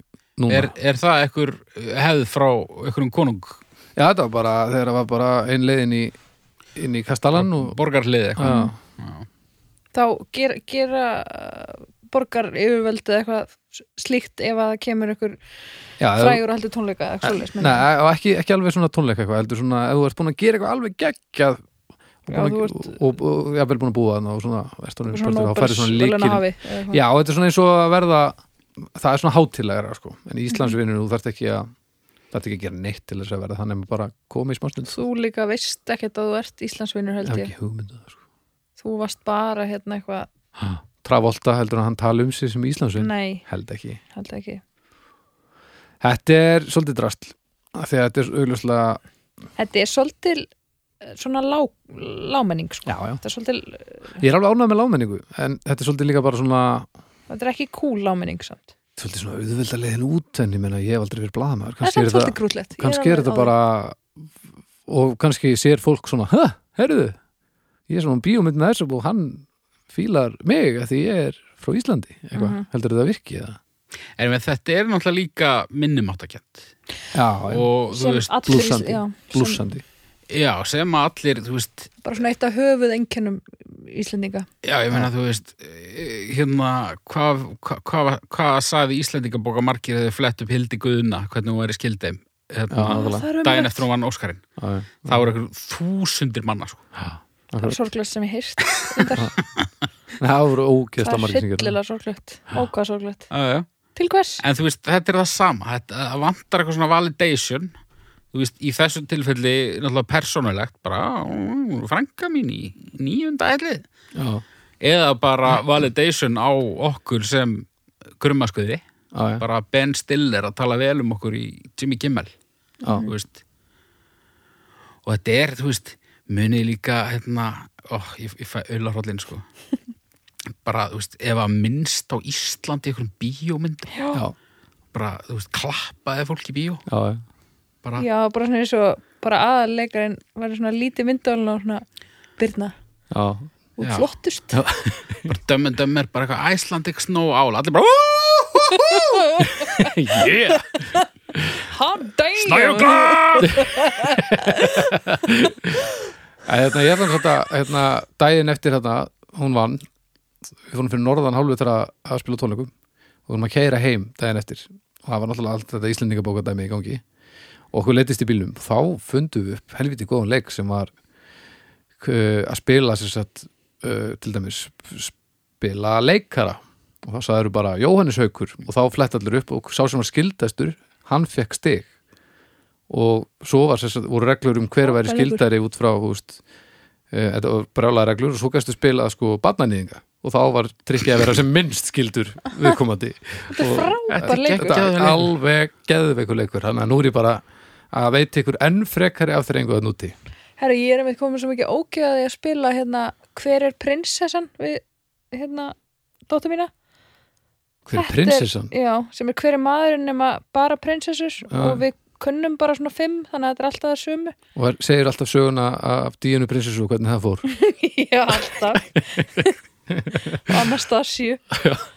núna
Er, er það ekkur hefð frá einhverjum konung,
já þetta var bara, þegar það var bara ein leið inn í, inn í Kastalan og
borgarliði eitthvað?
já,
þá gera, gera uh, borgar yfirvöldu eitthvað slíkt ef að það kemur ykkur
já, ef-
frægur og heldur tónleika eða eitthvað svoleiðis, meina ég.
Nei, og ekki, ekki alveg svona tónleika eitthvað heldur svona, ef þú ert búin að gera eitthvað alveg geggjað og,
Já,
búin að-
þú ert-
og, og, og ég vel búin að búa þannig og svona, ertu orðinn
Eitthvað
spöldur, þá færðu svona
Nóbelsverðlauna
líkil
hafi, eða eitthvað.
Já, og þetta er svona eins og að verða það er svona hátilæra, sko en í
Mhm.
Íslandsvinnur, þú þarft ekki að þarft ekki að gera neitt til þess að verða þannig að bara komið í smástund
þú líka veist ekkert að þú ert Íslandsvinnur
Já,
held ég
ekki hugmyndu það, sko
þú varst bara hérna eitthvað
Travolta heldur að hann tala um sig sem Íslandsvinn
nei,
held ekki
held ekki
Þetta er svolítið drastl af því að þetta er augljóslega
þetta er svolítil eh, svona lá, lámenning sko.
já, já.
þetta er svolítil,
Ég er alveg ánægð með lámenningu en þetta er svolítið líka bara svona
þetta er ekki cool lámenning samt
svolítið svona auðvelda leiðin út en ég menna ég hef aldrei verið blaðamaður
það er
kannski er
samt svolítið
þetta,
grútlegt Ég
kannski er
alveg
þetta
á því.
bara og kannski sér fólk svona hæ, herruðu, ég er svona bíómynd með þessu og hann fílar mig að því ég er frá Íslandi eitthvað,
Mhm.
heldur þetta virki eða
En við- þetta er náttúrulega líka minnumáttakent
já, og,
og þú
Sem
veist,
allir-
blússandi,
já, sem-
blúsandi
já, sem að allir, þú veist,
bara svona eitt af höfuð einkennum Íslendinga
já, ég meina, þú veist, eh, hérna, hvað hva, hva, hva, hvað sagði Íslendingabóka margir þegar þau flett upp Hildi Guðuna, hvernig hún væri skildið,
Já,
hérna,
alveg.
það er
daginn
umrætt
eftir hún vann Óskarinn.
já,
Það voru einhver þúsundir manna, sko.
akkurat.
sorglöst sem ég heyrst
það voru ógeðsla
það er
margir sem gerðu það.
hryllilega sorglögt ókvað sorglögt
Já, já.
til hvers?
En þú veist, þetta er það sama, þetta það vantar eitthvað svona validation, þú veist, í þessu tilfelli, náttúrulega persónulegt, bara, "Ú, frænka mín í nýjunda ellið.
já,
Eða bara validation á okkur sem krummaskuði,
já, já,
bara Ben Stiller að tala vel um okkur í Jimmy Kimmel,
já,
þú veist. Og þetta er, þú veist, munið líka, hérna, ó, ég, ég fæ auðlarhóllin, sko. Bara, þú veist, ef að minnst á Íslandi í einhverjum bíómyndum,
já, já,
bara, þú veist, klappaði fólk í bíó
já, já.
bara,
já, bara svona eins og bara aðalleikarinn væri svona lítið myndalinn og svona byrna
já.
og
Já.
flottust
bara dömmen dömmer, bara eitthvað Icelandic snow ála, allir bara "Woo, yeah,
hann dægjum
snæjúkla
Æ, hérna, ég hefðan þetta, hérna, daginn eftir hérna, hún vann við fórum fyrir norðan hálfu þegar að, að spila á tónleikum og vorum að keira heim daginn eftir og það var náttúrulega allt þetta Íslendingabóka dæmi í gangi og okkur leittist í bílnum þá fundum við upp helviti góðan leik sem var k- að spila sér satt, uh, til dæmis sp- spila leikara og þá sagður bara Jóhannes Haukur og þá flett allir upp og sá sem var skildastur hann fekk stig og svo var sér satt, voru reglur um hver væri
Frábær leikur.
skildari út frá húst, uh, þetta var brjálaða reglur og svo gæstu spila sko barnanýðinga og þá var trikkið að vera sem minnst skildur viðkomandi
þetta er
Þetta er
frábær
Þetta er
leikur
Geðveikur leikur.
alveg geðveikur leikur þannig að nú er ég bara að veit ykkur enn frekari af þeir engu að núti
herru, ég er einmitt komin svo mikið ógeðaði að spila hérna, hver er prinsessan við, hérna, dóttu mína
hver
Þetta
er
er-
prinsessan?
já, sem er hver er maðurinn nema bara prinsessur
Já.
og við kunnum bara svona fimm þannig að þetta er alltaf það sumu
og er- segir alltaf söguna af díunu prinsessu og hvernig það fór
já, alltaf Anastasíu,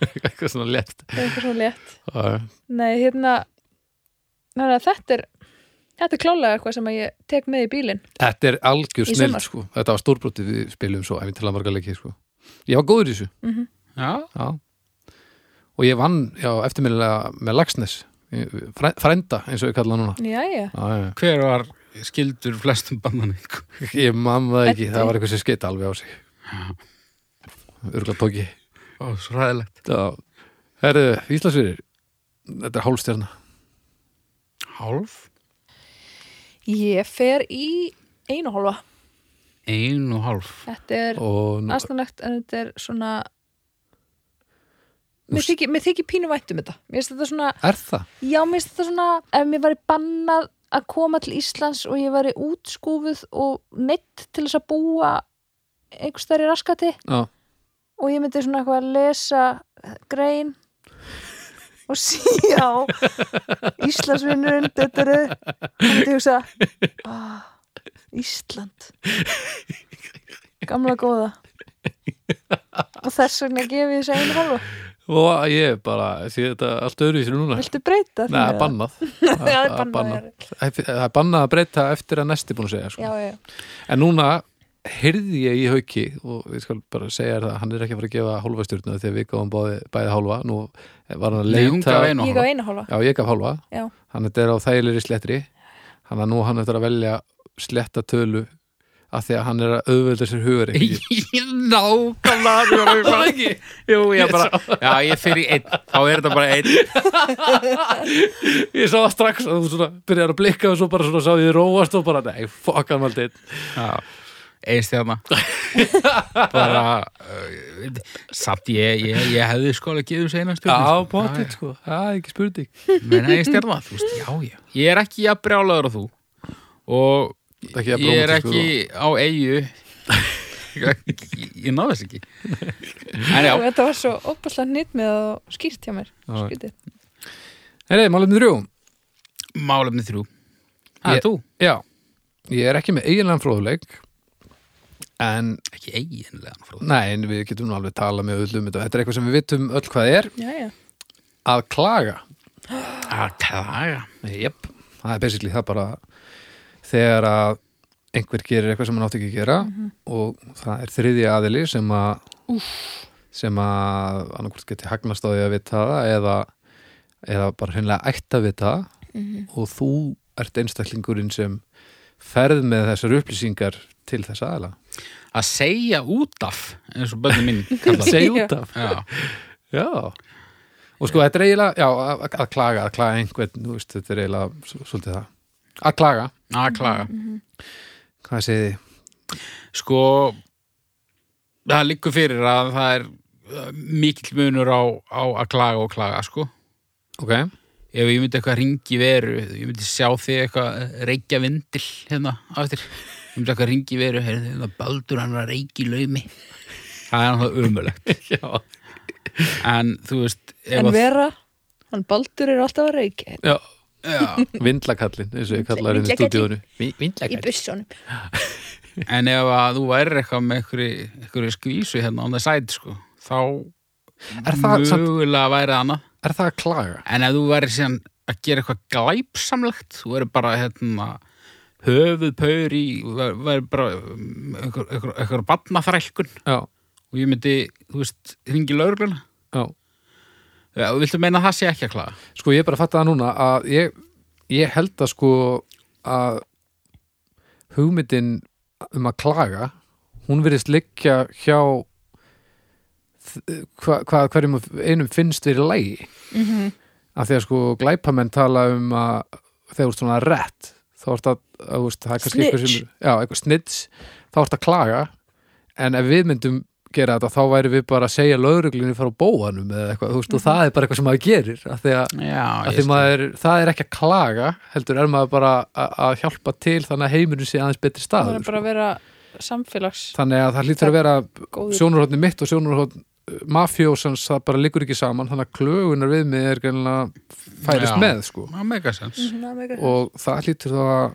eitthvað svona eh, lett
eitthvað svona létt
Já,
Nei, hérna þannig að þetta er þetta er klálega eitthvað sem að ég tek með í bílinn
Þetta er algjör
Í
snill
sumar.
sko. þetta var stórbrotið við spilum svo æfintilega marga leiki sko. ég var góður í þessu
já,
já. og ég vann já, eftirminnilega með Lagsnes frænda eins og ég kalla hann núna
Jæja,
já, já.
hver var skildur flestum bannaning
ég man það ekki,
Eddi.
það var eitthvað sem skeita alveg á sig örgulega tóki
ó, svo ræðilegt
Já, herðu, Íslandsfyrir Þetta er hálfstjarna
hálf,
ég fer í einu hálfa
ein og hálf
Þetta er
og nú,
aðstæðanlegt en þetta er svona
Nú
Mér
s-
þykir, mér þykir pínu vænt um þetta Mér finnst þetta svona,
er það?
já mér finnst þetta svona ef mér væri bannað að koma til Íslands og ég væri útskúfuð og neitt til þess að búa einhvers þar í raskati
Já,
og ég myndi svona eitthvað að lesa grein og síðan Íslandsvinnurinn dötturu og þú hugsa ah, Ísland gamla góða og þess vegna gef ég þessu einu hálfa
og ég bara, því þetta er allt öðru í sér núna
viltu breyta því?
Nei,
eða?
bannað
Já,
Það
það
er
er bannað,
bannað. Það er bannað að breyta eftir að næsti búin að segja
já,
sko.
já,
En núna heyrði ég í hauki og ég skal bara segja þér það hann er ekki að fara að gefa hálfa stjórna því að við gáum báði, bæði hálfa Nú var hann að
Nei, hún
leita
gaf
ég
einu hálfa.
gaf einu hálfa
Já, ég gaf hálfa
já,
Hann þetta er á þægilegri slettri Hann að nú á hann eftir að velja sletta tölu af því að hann er að auðvelda sér hugar
Nákvæmlega þú var að hugsa það ekki Jú, ég bara, já, ég fyrir í einn Þá er þetta bara einn
Ég sá það strax að þú svona byrjar að blikka og svo bara svona sá ég róast og bara nei, fuck hann aldrei
Einstjarna Bara uh, Samt ég, ég, ég hefði sko alveg gefið þessu eina stjórn
Já, potið sko, það er ekki spurning
Meina einstjarna, þú veist, já, já Ég er ekki að brjálaður á þú Og
Það er
ég er
rómantískur
ekki á eigu Ég, ég náðu þess ekki En já,
og þetta var svo opaslega nýtt með og skýrt hjá mér
Já.
Skrítið.
Heyri, málefni þrjú
málefni þrjú
Ég-
Það er Ah, þú,
Já, ég er ekki með eiginlegan fróðuleik En,
ekki eiginlega frá
nei, en við getum nú alveg talað með öllum um þetta Þetta er eitthvað sem við vitum öll hvað er
já, já,
Að klaga
Að klaga
Jep, það er basically það bara Þegar að einhver gerir eitthvað sem hann átti ekki að gera Og það er þriðja aðili sem að Sem að annarkvort geti hagnast á því að vita það Eða, eða bara hreinlega ætti að vita það og þú ert einstaklingurinn sem ferð með þessar upplýsingar til þess aðala
Að segja út af eins og bönni mín kallar það.
segja út af
Já,
já. og sko þetta er eiginlega já, að, að klaga, að klaga einhvern þú veist, þetta er eiginlega s- svolítið það að klaga,
að klaga
Mhm.
hvað segið þið?
Sko það liggur fyrir að það er uh, mikill munur á, á að klaga og klaga sko
ok,
Ef ég myndi eitthvað ringi veru ég myndi sjá þig eitthvað eh, reykja vindil hérna á eftir ég myndi eitthvað ringi veru heyrðu, hérna baldur hann er að reykja í laumi Það er náttúrulega umulegt
já,
En þú veist ef
en
að-
vera hann Baldur er alltaf að reykja
já.
Já,
vindlakallin eins og ég kallar henni í
Vindlakallinn.
stúdíónu vindlakallin
í bussunum
En ef að þú værir eitthvað með einhverju, einhverju skvísu hérna on the side sko, þá
Er það samt-
mögulega væri það annað.
er það að klaga?
En ef þú væri síðan að gera eitthvað glæpsamlegt, þú væri bara hérna höfuð paur í, þú væri væri bara um, einhver, einhver, einhver batnaþrælkun
já,
og ég myndi, þú veist, hringi lögregluna.
já
Já, viltu meina að það sé ekki að klaga?
sko ég bara fatt að það núna að ég, ég held að sko að hugmyndin um að klaga hún virðist liggja hjá þ- hva, hvað hverjum einum finnst verið lægi af því að sko glæpamenn tala um að þegar þú ert svona rétt þá ert að, að þú veist, það er kannski eitthvað sem já, eitthvað snitch, þá ert að klaga en ef við myndum gera þetta þá væri við bara að segja lögreglunni frá bóanum eða eitthvað, þú veist, og það er bara eitthvað sem maður gerir af því að
Já,
að því
skil.
maður, það er ekki að klaga heldur er maður bara að- að hjálpa til þannig að heimurinn sé aðeins betri
það
staður
er bara að vera samfélags
þannig að það hlýtur að vera
góður
sjónurhóttni mitt og sjónurhóttn mafjósans það bara liggur ekki saman þannig að klögunar við mig er greinlega færist
Já.
með sko
Það meika sens.
Mhm, og
og það hlýtur þá að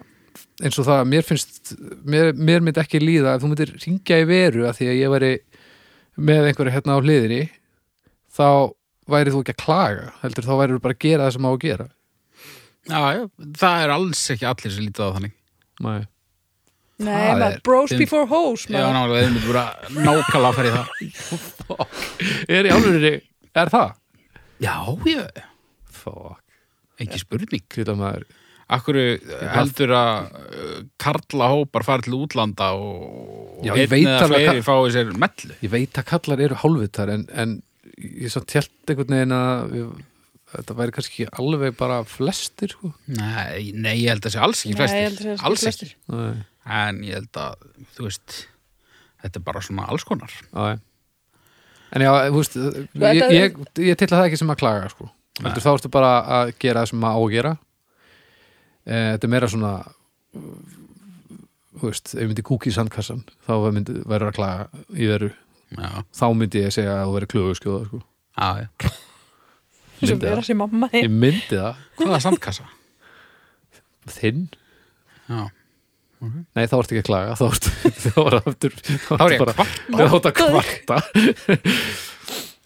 eins og það, mér finnst mér, mér myndi ekki líða ef þú myndir ringja í veru að því að ég væri með einhverju hérna á hliðinni þá væri þú ekki að klaga heldur þá væri þú bara að gera það sem á að gera
Já, já, það er alls ekki allir sem lítið á það þannig.
Nei. Það
Nei, maður,
er-
bros before hoes
Já,
maður.
nálega, þið myndi bara nákvæmlega að fara í það.
er í álunni, er það?
Já, já,
Fuck,
ekki spurning.
hluta maður
Akkur heldur að uh, karla hópar fara til útlanda og
Já,
og
ég
einn
veit
eða
alveg
fleiri fái sér mellu
Ég veit að kallar eru hálfvitar en, en ég svo tjált einhvern veginn að við, þetta væri kannski ekki alveg bara flestir sko.
Nei, nei, ég held að sé alls ekki
Nei, ég held að
flestir
sé alls ekki
Alls
flestir.
ekki
Nei,
En ég held að, þú veist Þetta er bara svona alls konar
já, já. En já, þú veist ég,
þetta-
ég, ég tilla það ekki sem að klaga sko. Heldur, þá ertu bara að gera það sem að á að gera e, Þetta er meira svona þú veist, ef ég myndi kúki í sandkassan þá myndi, verður að klaga í veru
Já,
þá myndi ég segja að þú verður klögu skjóða sko.
já, já
eins og
Myndi það.
vera sem mamma þín.
Ég myndi það,
Hvaða sandkassa?
þinn
Já.
Nei, þá ertu ekki að klaga, þá ertu þá var aftur, þá
Þá er ég
bara
kvart.
þá ertu að kvarta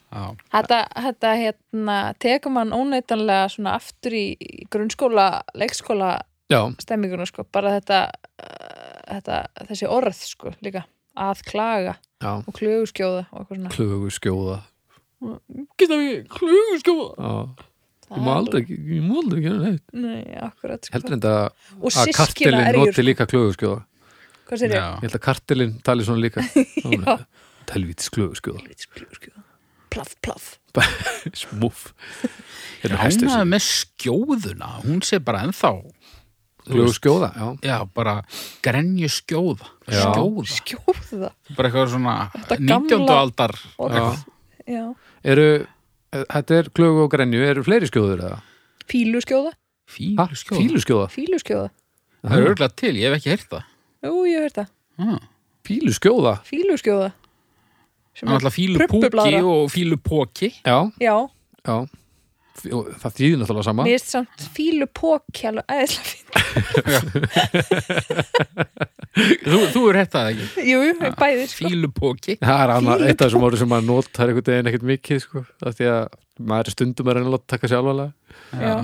Já.
Þetta, þetta hérna, tekur mann óneitanlega svona aftur í í grunnskóla, leikskóla
Já,
stemminguna sko, bara þetta, uh, þetta þessi orð sko líka, að klaga
já,
og klöguskjóða og eitthvað svona.
klögu skjóða
Geta ekki klöguskjóða?
Já, ég má aldrei ekki- ég má aldrei gera neitt
Nei, akkurat sko.
Heldur en það
og
að
sískina
kartelin
erjur, sko.
noti líka klögu skjóða
hvað sér ég?
Já.
Ég held að kartelin tali svona líka Telvítis klögu skjóða
Klöguskjóða. Plaf, plaf.
Smúf Hérna hæstu
Ránaði með skjóðuna. Hún sé bara ennþá,
Klögu skjóða, já
já, bara grenju skjóða.
Já.
Skjóða.
Skjóða.
Bara eitthvað svona
Þetta
19.
gamla-
aldar.
Orð. Já.
Eru, eh, þetta er klögu og grenju Eru fleiri skjóður eða?
Fíluskjóða?
Ha?
Fílu skjóða.
Fílu skjóða?
Fíluskjóða.
Það er örgulega til, ég hef ekki heyrt það.
Jú, ég hef þetta.
Já.
Fílu skjóða?
Fíluskjóða. Sem
Það er
er-
alltaf fílu púki
Prumpublaðra.
og fílu póki.
Já,
Já,
já F- og Það þýðir náttúrulega sama
Mér finnst samt fílu póki alveg æðislega fínt.
Þú, þú er heyrt það ekki.
Jú, bæðir sko.
Fílu póki.
Það er annað,
Fílu
eitt af þessum orðum sem maður notar einhvern veginn ekkert mikið sko, af því að maður er stundum að reyna að láta taka sér alvarlega
Já.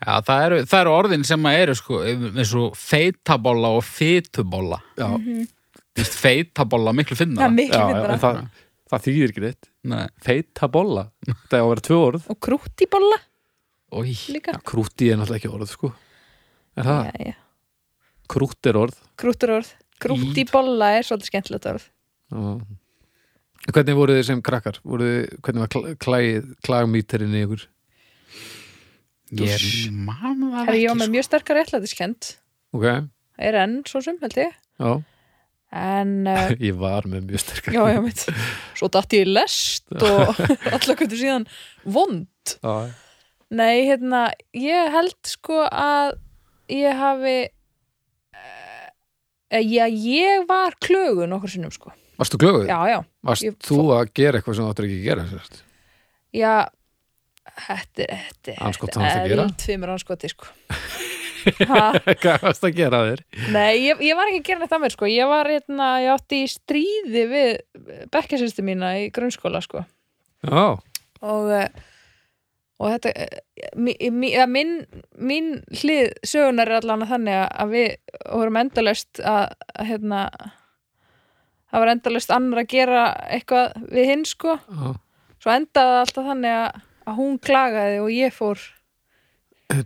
Já, það eru, það eru orðin sem að eru sko, eins og feitabóla og fytubóla.
Já,
Vist, feitabóla miklu
Það er
finna.
Mhm. já,
miklu
en
finnara.
það, það þýðir ekki neitt
Nei,
Feita bolla, það er að vera tvö orð
Og krúttibolla
ói,
líka.
Krúti er náttúrulega ekki orð sko Er það?
Já, já.
Krúti er orð
Krútturorð. Krúttibolla er svolítið skemmtilegt orð.
Já. Hvernig voru þið sem krakkar? Voru þið, hvernig var kl- klæð, klagmíterinn í ykkur?
ég man það
Herra, ég
ekki
var með
sko.
mjög sterkar réttlætiskend.
Ok,
Það er enn, svo sem, held ég.
já,
En, uh,
ég var með mjög sterkar
já, já, mitt. Svo datt ég í lest og allakvöldu síðan vond.
já,
Nei, hérna, ég held sko að ég hafi... Uh, já, ég var klögu nokkur sinnum sko.
Varstu glöguð?
Já, já.
Varst
ég-
þú að gera eitthvað sem þú áttur ekki að gera? sem sagt?
Já, þetta er þetta er-
Andskot
þetta
sem þú ert að gera?
er tveimur anskoti sko ha,
Hvað varst að gera að þér?
Nei, ég, ég var ekki að gera neitt að mér sko ég var hérna, ég átti í stríði við bekkjasýstu mína í grunnskóla sko
Já,
og eh, og þetta eh, mi, mi, eða minn, minn hlið sögunar er allan að þannig að- að við vorum endalaust að, að hérna það var endalaust annar að gera eitthvað við hinn sko
já
svo endaði það alltaf þannig að, að hún klagaði og ég fór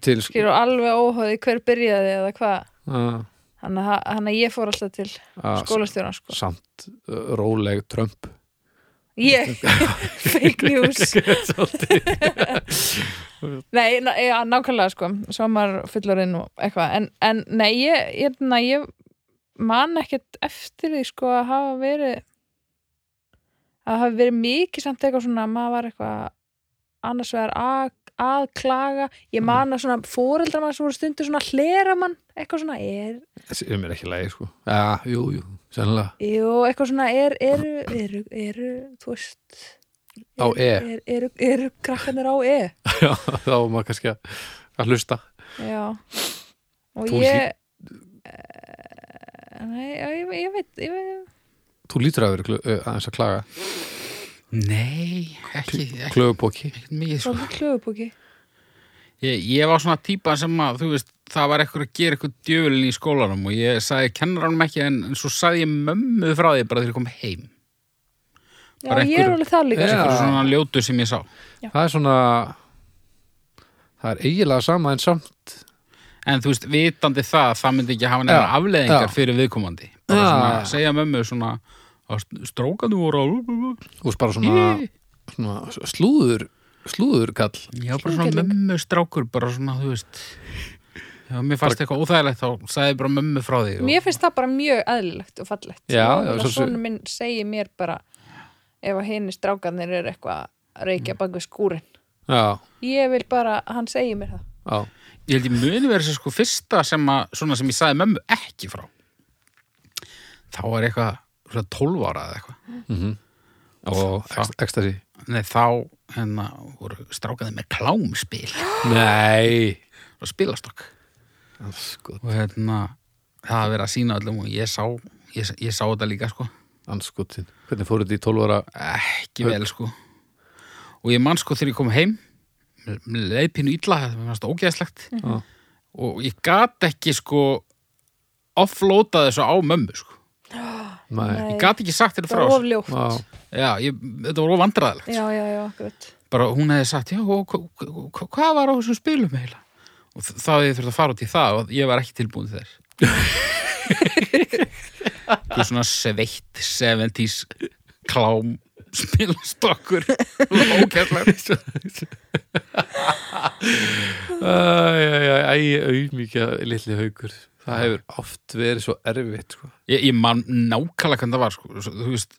til
skilur alveg óhóði hver byrjaði eða hvað
uh,
þannig að, þannig að ég fór alltaf til
Ah,
skólastjóra sko.
samt uh, róleg Trump
ég, fake news
Svolítið.
nei, ná, já, nákvæmlega sko svo maður fullorinn og eitthvað en, en nei, ég, ég, na, ég man ekkert eftir því sko að hafa verið að hafa verið mikið samt eitthvað svona að maður var eitthvað annars vegar að, að klaga
Mm.
ég man að svona fóreldra mann sem voru stundur svona hlera mann eitthvað svona er,
sem er ekki lægi sko já, jú, jú, sennilega
Jú, eitthvað svona er, eru, eru, eru, þú veist
Á E.
er, Eru, eru krakkanir á E
já, þá var maður kannski að, að hlusta
Já Og
Þú
ég uh, Nei, já, ég, ég veit, ég veit
þú lítur að vera klö, uh, aðeins að klaga
Nei, ekki, ekki,
klögubóki
ekki mikið
Svo
sko.
með klöfubóki
Ég, ég var svona típa sem að, þú veist, það var eitthvað að gera eitthvað djöfulinn í skólanum og ég sagði kennaranum ekki en, en svo sagði ég mömmu frá því bara þegar ég kom heim.
Já,
Bara
ég er
einhver-
alveg það líka
Já.
sko.
Eitthvað svona ljótu sem ég sá.
það er svona það er eiginlega sama en samt
En þú veist, vitandi það, það myndi ekki hafa nefnir
Já,
afleðingar
já.
fyrir viðkomandi. Bara
Já.
svona, segja mömmu svona, að strókandi voru á...
og bara svona, svona slúður slúður kall
Já, bara svona
Slúkelling.
mömmu strákur, bara svona, þú veist. Já, mér fannst eitthvað óþægilegt þá, sagði bara mömmu frá því. Og...
Mér finnst það bara mjög eðlilegt og fallegt
Já,
Og
já,
að
svo sé-
Sonur minn segir mér bara ef að henni strákanir eru eitthvað að
Mm.
reykja bak við skúrin
já,
Ég vil bara, að hann segir mér það
já,
Ég held ég muni verið þessi sko fyrsta sem, að, svona, sem ég sagði mömmu ekki frá. Þá er eitthvað, svona 12 ára eða eitthvað.
og ekstasi
Nei, þá, hérna voru strákaði með klámspil
Nei sko.
og spilastokk
Anskot,
og hérna það að vera að sína öllum og ég sá ég, ég sá þetta líka sko
anskotin Hvernig fóruð þið í 12 ára
ekki vel sko og ég man sko þegar ég kom heim mér leið pínu illa, það mér fannst ógeðslegt
Mm. Mhm.
Já.
og ég gat ekki sko offlóta þessu á mömmu sko
Nei,
ég gat ekki sagt þetta frá
Það var
þessu.
ofljótt.
Vá.
já, ég, þetta var of vandræðilegt
Já, já, já, akkurat.
bara hún hefði sagt, já, og hva- hva- hva- hvað var á þessum spilum eiginlega? Og þ- þá hefði ég þurft að fara út í það og ég var ekki tilbúin til þess. Þú er svona sveitt 70s klám spilastokkur ókjærlegt.
Æ, auðmíkja litli haukur Það hefur oft verið svo erfitt sko.
Ég, ég man nákvæmlega hvernig það var, sko. Svo- þú veist,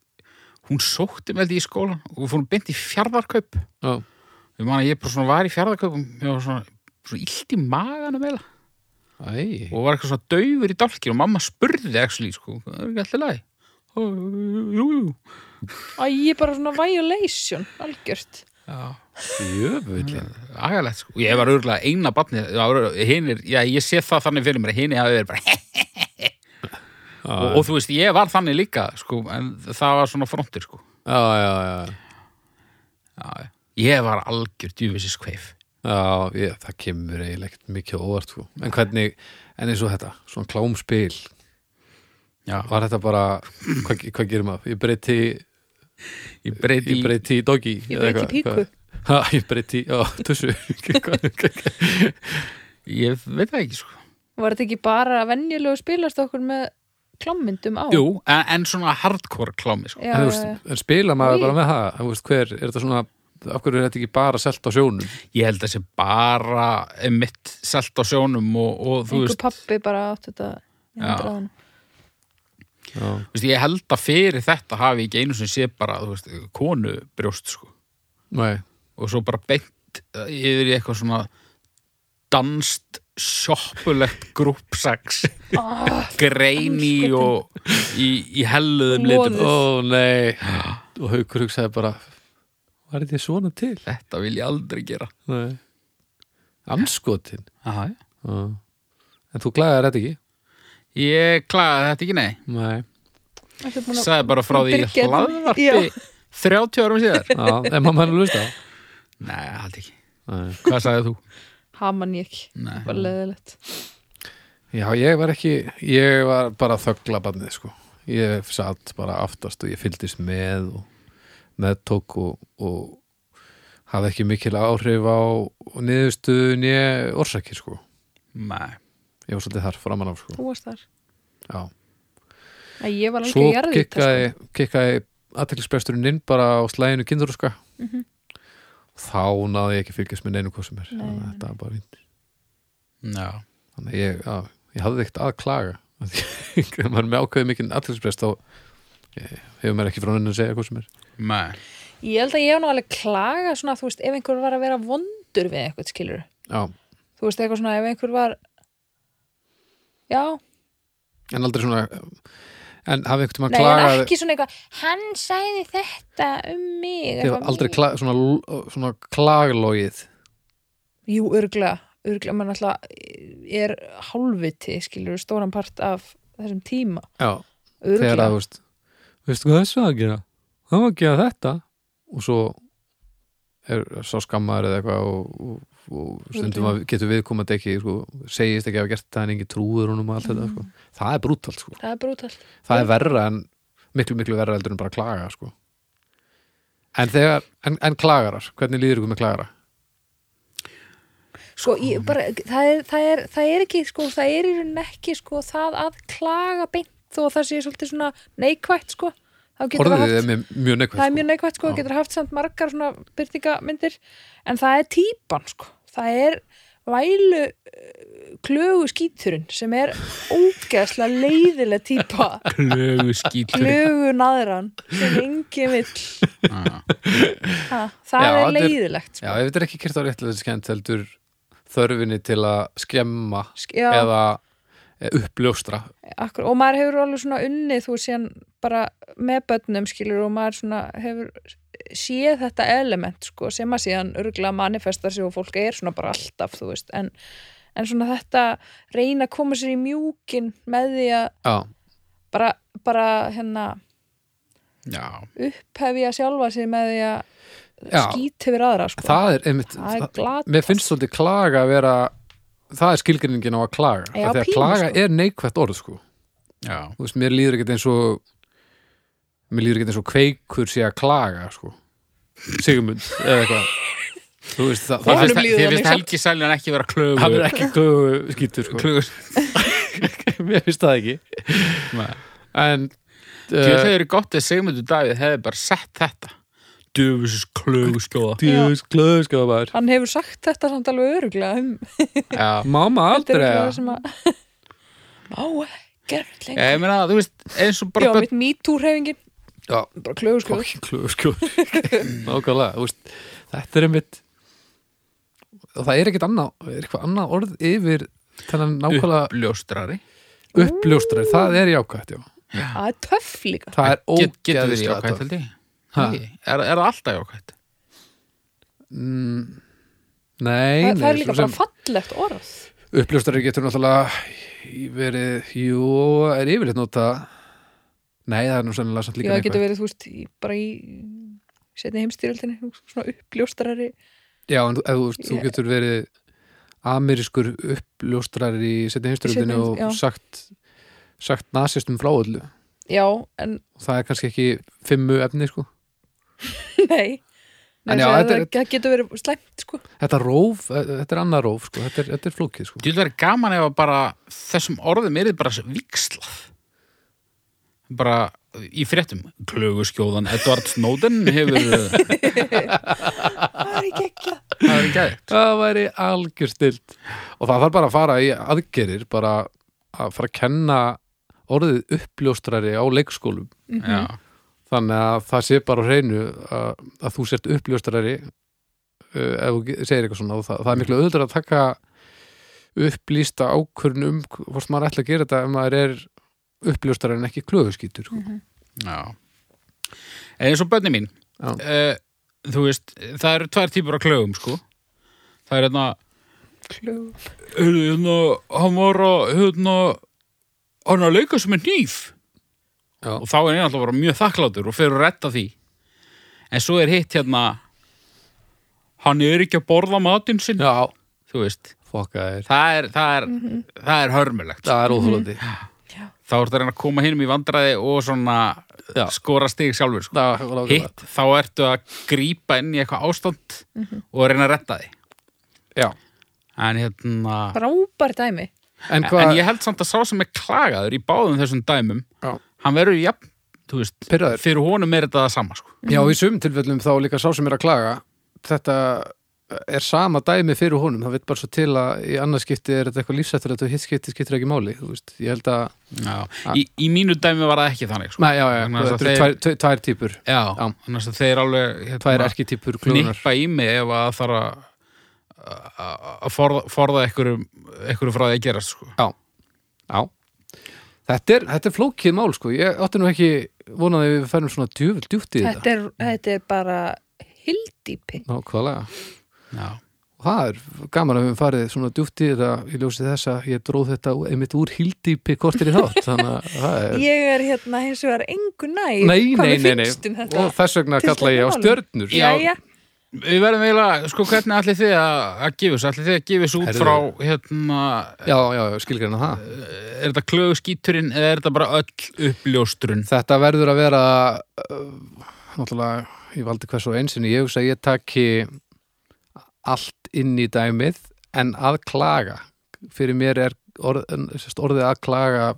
hún sótti með þetta í skólan og við fórum beint í fjardarkaup.
Já,
Ég man að ég bara svona var í fjardarkaupum, ég var svona, svona illt í maganum eiginlega.
æ
og var eitthvað svona daufur í dálkinu og mamma spurði actually, sko, það er ekki allir lagi Ó, jú, jú
Æ, ég er bara svona violation, algjört.
Jöfullin
agalegt, sko, ég var örgulega eina barni, hinir, já, ég sé það þannig fyrir mér, hini hafi verið bara og, og þú veist, ég var þannig líka, sko, en það var svona frontir, sko,
Já, já, já
já, já. ég var algjör djúfisis kveif
Já, ég, það kemur eiginlega ekkert mikið á óvart sko. En hvernig, en eins og þetta Svona klámspil,
já,
var þetta bara Hvað, hvað gerir maður? Ég breyti
ég breyti
Ég breyti í doggi
Ég
eða
breyti í
hvað-
píku.
hvað? Ha, ég breyti, já, tussu
ég veit það ekki, sko
Var þetta ekki bara venjulegu spilast okkur með klámmyndum á?
jú, en, en svona hardcore klámi, sko
en,
Já,
þú
já, já.
veist, en spila maður
Í.
bara með það en, þú veist, hver, er þetta svona, af hverju er þetta ekki bara selt á sjónum
ég held að sé bara mitt selt á sjónum og, og þú
Einhver
veist
pappi bara átt þetta í
Já.
handraðanum.
já,
Þú veist, ég held að fyrir þetta hafi ég ekki einu sem sé bara, þú veist, konu brjóst, sko.
nei,
Og svo bara beint eh, yfir í eitthvað svona danst sjoppulegt grúpsax
Ah,
greini og í, í helluðum litum.
Loðið.
ó nei og haukur hugsaði bara var þetta svona til
Þetta vil ég aldrei gera.
nei. anskotin
Aha.
já. en þú glæðar þetta ekki
Ég klaði þetta ekki, nei.
nei.
ertu búin að-
Sæði bara frá því í
Birgir-
hlaðvarpi 30 árum síðar.
Já, en maður mann að lusta
Nei, held ekki.
nei.
Hvað sagði þú?
Haman ég ekki.
Nei.
Bara leðilegt.
já, ég var ekki ég var bara þöggla barnið sko. ég satt bara aftast og ég fylgdist með og meðtók og, og hafði ekki mikil áhrif á niðurstuðun ég orsakir sko
Nei.
ég var svolítið þar framan af sko
Þú varst þar.
já.
Æ, ég var alveg sko.
svo
að gera þetta.
kikkaði, kikkaði aðteklisbresturinn inn bara á slæginu kindurúska þá náði ég ekki fylgjast með neinu hvað sem er
Mhm.
þannig
Nei,
að þetta var bara fínt.
Já.
þannig að ég, já, ég hafði ekkert að klaga Af því að maður er með ákveði mikinn aðteklisbrest þá eh, hefur maður ekki frá henni að segja hvað sem er
Nei.
Ég held að ég hef nú alveg klaga svona, þú veist, ef einhver var að vera vondur við eitthvað skilur.
já.
Þú veist, eitthvað svona, ef einhver var... Já,
en aldrei svona en hafði einhvern tímann
nei, en
klagað
ekki svona eitthvað, hann sagði þetta um mig.
þið
eitthvað
var aldrei
mikið.
kla, svona, svona klaglógið
Jú, örglega, örglega, mann alltaf er hálfviti, skilur, stóran part af þessum tíma,
já þegar að,
örglega.
þú veist veistu hvað þessu að gera? það var að gera þetta og svo er sá skammaður eða eitthvað og, og, og stundum að getur viðkomandi ekki sko, segist ekki að hafa gert það en engin trúður honum og allt þetta sko.
Mm.
það er brútalt sko.
Það er brútalt.
það er verra en miklu miklu verra heldur en bara að klaga sko. en þegar en, en klagarar, hvernig líður ykkur með klagara?
Sko, ég, bara, það, er, það, er, það er ekki, sko, það er í rauninni ekki, sko, það að klaga beint þó að það sé svolítið svona neikvætt, sko. Þá getur það
orðið
haft-
er mjög- mjög neikvægt
það er mjög
sko.
neikvægt sko,
Já.
getur haft samt margar svona byrtingamyndir, en það er típan sko, það er vælu eh, klögu skíturinn sem er ógeðslega leiðileg típa
Klögu skýtlur.
klögu naðran sem engin vill
Já.
ha,
Ah.
það
Já, þetta
er
er-
leiðilegt
já,
sko.
ef þetta er ekki kert á réttilega skemmt heldur þörfinni til að skemma
Sk- já,
eða eh, uppljóstra
akkur, og maður hefur alveg svona unnið þú veist, síðan bara með börnum skilur og maður svona hefur séð þetta element sko sem að síðan örgulega manifestar sig og fólk er svona bara alltaf þú veist en, en svona þetta reyna að koma sér í mjúkin með því að
já,
bara, bara hérna
já,
upphefja sjálfa sig með því að
Já.
skýt yfir aðra sko
það er einmitt
Það er
það-
glatað.
mér finnst svolítið klaga að vera það er skilgreiningin á að klaga
Já,
Af því að
pínu,
klaga
sko.
er neikvætt orð sko
já,
Þú veist, mér líður ekkert eins og mér líður ekkert eins og kveikur sé að klaga sko Sigmund eða eitthvað þú veist það,
Honum
það
Þér finnst-
líður
þér
þannig
finnst
samt.
Helgi Seljan ekki vera klögu
hann er ekki klögu skýtur sko
klögu
mér finnst það ekki en
Þau
uh,
eru gott að Sigmundur Davíð hefði bara sett þetta Döfusis klögu skjóða
djús klögu sko maður
hann hefur sagt þetta samt alveg öruglega um
Já,
mamma
þetta er
aldrei
öruglega
að-
sem að má gerð lengur
ég meina, þú veist, eins og
Já,
bara börn
mitt MeToo-hreyfingin
Já.
bara klögu sko
fokkin klögu sko nákvæmlega þú veist, þetta er einmitt og það er ekkert annað er eitthvað annað orð yfir þennan nákvæmlega
uppljóstrari
uppljóstrar það er jákvæmt já
það er töff líka
það er
Get- Getur verið
ógeðislega
jákvætt,
töff.
held ég
Ha?
Ekki? Er er það alltaf jákvætt?
Mm, nei,
það, það er
nei,
líka
svo
bara
sem
fallegt orð
uppljóstari getur náttúrulega í- verið, jú, er yfirleitt nota nei, það er nú sennilega samt
Já,
líka
það getur
neikvætt.
verið, þú veist, í, bara í setni heimstyrjöldinni, svona uppljóstrari
já, en þú- ef þú, veist, þú
Ég-
getur verið amerískur uppljóstrari í setni heimsturöldinu
seinni heims-
og
já.
sagt, sagt nasistum frá öllu
Já, en
og það er kannski ekki fimmu efni sko.
nei Nei,
En já,
það,
þetta er-
það getur verið slæmt, sko
þetta róf, eh, þetta er annað róf sko. þetta, er, þetta er flókið sko.
Þú veist, það er gaman ef að bara þessum orðum er þið bara vikslað bara í fréttum klöguskjóðan Edward Snowden hefur það
Það er ekki ekki
er gæðið
það væri algjör stilt og það þarf bara að fara í aðgerir bara að fara að kenna orðið uppljóstrari á leikskólum
Mhm.
Já,
þannig að það sé bara á hreinu að, að þú sért uppljóstrari uh, ef þú ge- segir eitthvað svona og það, það er miklu auðvitað að taka upplýsta ákvörn um hvort maður ætla að gera þetta ef maður er uppljóstrari en ekki klöfuskýtur sko.
já En eins og bönni mín
Já.
uh, þú veist, það eru tvær típur af klögum sko það er hérna
Klug
Heyrðu, hérna, hann var að hérna, hann að leika sem er nýf
Já.
og þá er ég alltaf bara mjög þakklátur og fyrir að retta því en svo er hitt hérna hann er ekki að borða matinn sinn
já,
þú veist,
fokka er
það er það er, það er hörmulegt
það er óþólandi
þá ertu að reyna að koma hinum í vandræði og svona
Já.
skora stig sjálfur sko.
það er
hitt, þá ertu að grípa inn í eitthvað ástand og reyna að retta því
já.
en hérna
Frábær dæmi
en
en
hvað,
ég held samt að sá sem er klagaður í báðum þessum dæmum
Já.
hann verður jafn, þú veist
Pirraður.
fyrir honum er þetta það sama sko.
Já, í sum tilfellum þá líka sá sem er að klaga þetta er sama dæmi fyrir honum, það veit bara svo til að í annars skipti er þetta eitthvað lífsættilegt og hitt skipti skiptir ekki máli, þú veist, ég held að
í, í mínu dæmi var það ekki þannig sko.
Nei, já, já,
Vegna þess að
þetta eru
þeir-
tvær, tvær, tvær típur
já,
Já.
annars að þeir alveg hérna,
tvær erkitýpur klúnar
nippa í mig ef að þarf að að- að forða, forða einhverju, einhverju frá því að gerast sko.
Já, þetta er, þetta er flókið mál, sko, ég átti nú ekki vonaði við færum svona djúvel djúpt í þetta
þetta er, þetta er bara hildýpi
Nákvæmlega,
já,
og það er gaman að við höfum farið svona djúpt í þetta, ég ljósi þess að ég dróð þetta einmitt úr hildýpi kortir í þátt, þannig að það er
Ég er hérna hins vegar engu næg
Nei,
Hvað
nei,
mér
nei, nei,
finnst um þetta?
og þess vegna
Til
kalla ég á
dæmis.
stjörnur
Já,
Jæja,
Við verðum eiginlega, sko, hvernig ætlið þið að, að gefa þessu? Ætlið þið að gefa þessu út
Herðu.
frá, hérna,
Já, já, já, skilgreina það
er þetta klöguskíturinn eða er þetta bara öll uppljóstrun?
Þetta verður að vera uh, náttúrulega, ég valdi hvers og einsinni ég hugsa að ég taki allt inn í dæmið en að klaga fyrir mér er orð, en, sérst, orðið að klaga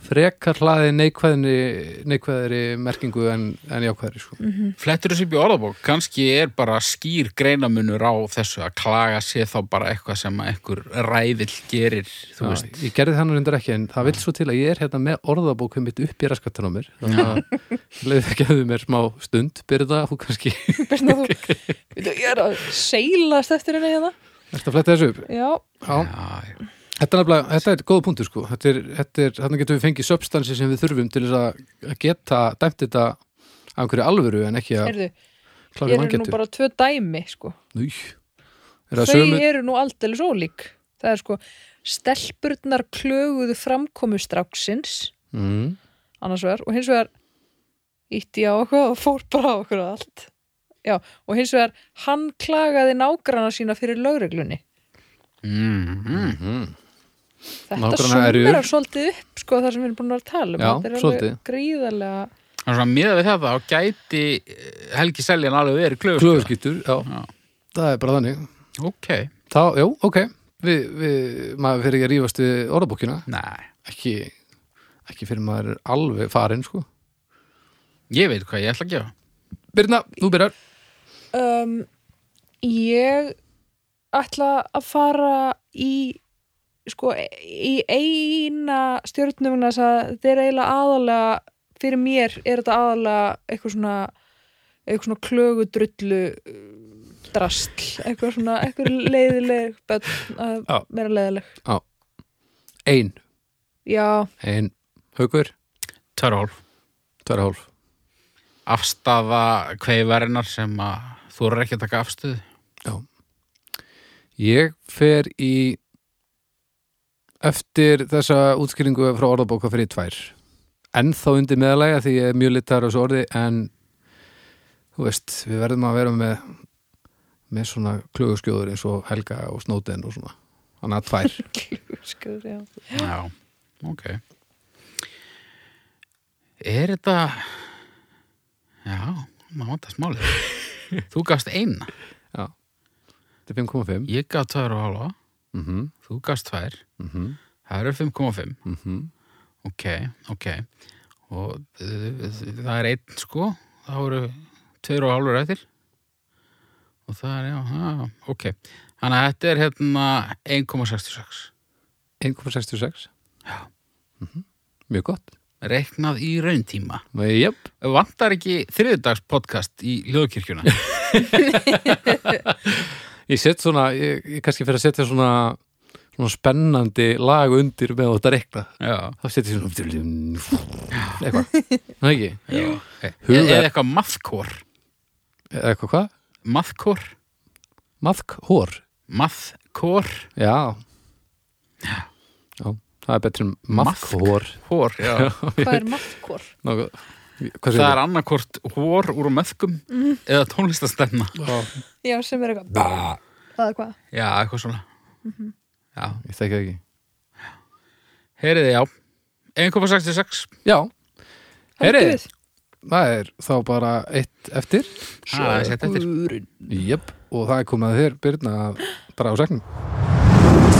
frekar hlaði neikvæðinni neikvæðri merkingu en, en jákvæðri sko.
Flettur þessu upp í orðabók, kannski er bara skýr greinamunur á þessu að klaga sé þá bara eitthvað sem að einhver ræðill gerir, þú
Já,
veist.
ég gerði þannig reyndar ekki en það vil svo til að ég er hérna með orðabókum mitt upp í raskatunum mér þannig að leiði ekki að þau mér smá stund byrða og kannski
Birna, þú, Veitu, ég er að seilast eftir henni hérna
Ertu að fletta þessu upp?
Já,
Já,
Já, já.
Þetta er, nefnilega- þetta er góða punktur sko þetta er, þetta er, Þannig getum við fengið substansi sem við þurfum til þess að að geta dæmt þetta af einhverju alvöru en ekki að
Heyrðu,
klára
ég eru nú
vangetu
bara tvö dæmi sko.
Nú, er
Þau
það sömu
eru nú aldeilis ólík Það er sko Stelpurnar klöguðu framkomu stráksins
mm,
annars vegar og hins vegar ítti á okkur og fór bara á okkur og allt Já, og hins vegar hann klagaði nágrana sína fyrir lögreglunni
Mm, mm.
Þetta
Nágrannaerjur.
summerar svolítið upp sko það sem við erum búin að vera að tala um
Já,
Þetta er
svolítið.
alveg gríðarlega
Það er svona miðað við þetta og gæti eh, Helgi Seljan alveg verið klöfur.
Klöfuskýtur, já.
Já.
Það er bara þannig
Ok,
Þá, já, ok við, við, Maður fyrir ekki að rífast við orðabókina
nei.
ekki, ekki fyrir maður er alveg farinn sko
Ég veit hvað ég ætla að gefa.
Birna, þú byrjar
um, Ég ætla að fara í sko í eina stjórnum vegna þess að þeir eiginlega aðalega fyrir mér er þetta aðalega eitthvað svona eitthvað svona klögudrullu uh, drastl, eitthvað svona eitthvað leiðileg bönn
Já.
að vera leiðileg
Ein,
Já,
ein, haukur,
Törhólf.
tverra hálf
Afstafa kveivarinnar sem að þú eru ekki að taka afstöðu.
Ég fer í eftir þessa útskýringu frá orðabóka fyrir tvær en þá undir meðalæga því ég er mjög litar á þessu orði en þú veist, við verðum að vera með með svona klöguskjóður eins og Helga og Snóten og svona þannig að tvær
klöguskur, já
Já, ok. Er þetta... Já, maður vantar smálið. þú gafst eina.
þetta er 5,5
Ég gaf tvær og halva.
mhm,
Þú gafst tvær.
mhm,
Það eru 5,5.
mhm
Ok, ok. Og uh, það er einn sko, það voru tveir og hálfur eftir. Og það er, já, já, ok. Þannig að þetta er hérna 1,66.
1,66
Já.
Mhm. mjög gott
Reknað í rauntíma.
Nei, jöp,
Vantar ekki þriðdags podcast í hljóðkirkjuna?
ég set svona ég, ég kannski fyrir að setja svona svona spennandi lag undir með þetta reikna
já,
þá setjum við svona eitthvað, það ekki
já. Okay.
Hugar-
Eða eitthvað maðkór.
eða eitthvað hvað,
Maðkór?
maðk, hór
Maðkór?
já já, það er betri en maðk,
Maðk.
hór
Hór, já.
Hvað er maðkor?
Nógu, hvað
það er annarkort hór úr möðkum eða tónlistastemna.
það?
Já, sem er eitthvað
Bá,
Eða hvað?
Já, eitthvað svona. Já,
ég þekki það ekki
Heyriði, já. 1,66.
já, Heyri.
Haldið við?
það er þá bara eitt eftir
Svo er sett eftir.
Guðurinn.
jöp, og það er komið að þér Byrna að draga á segnum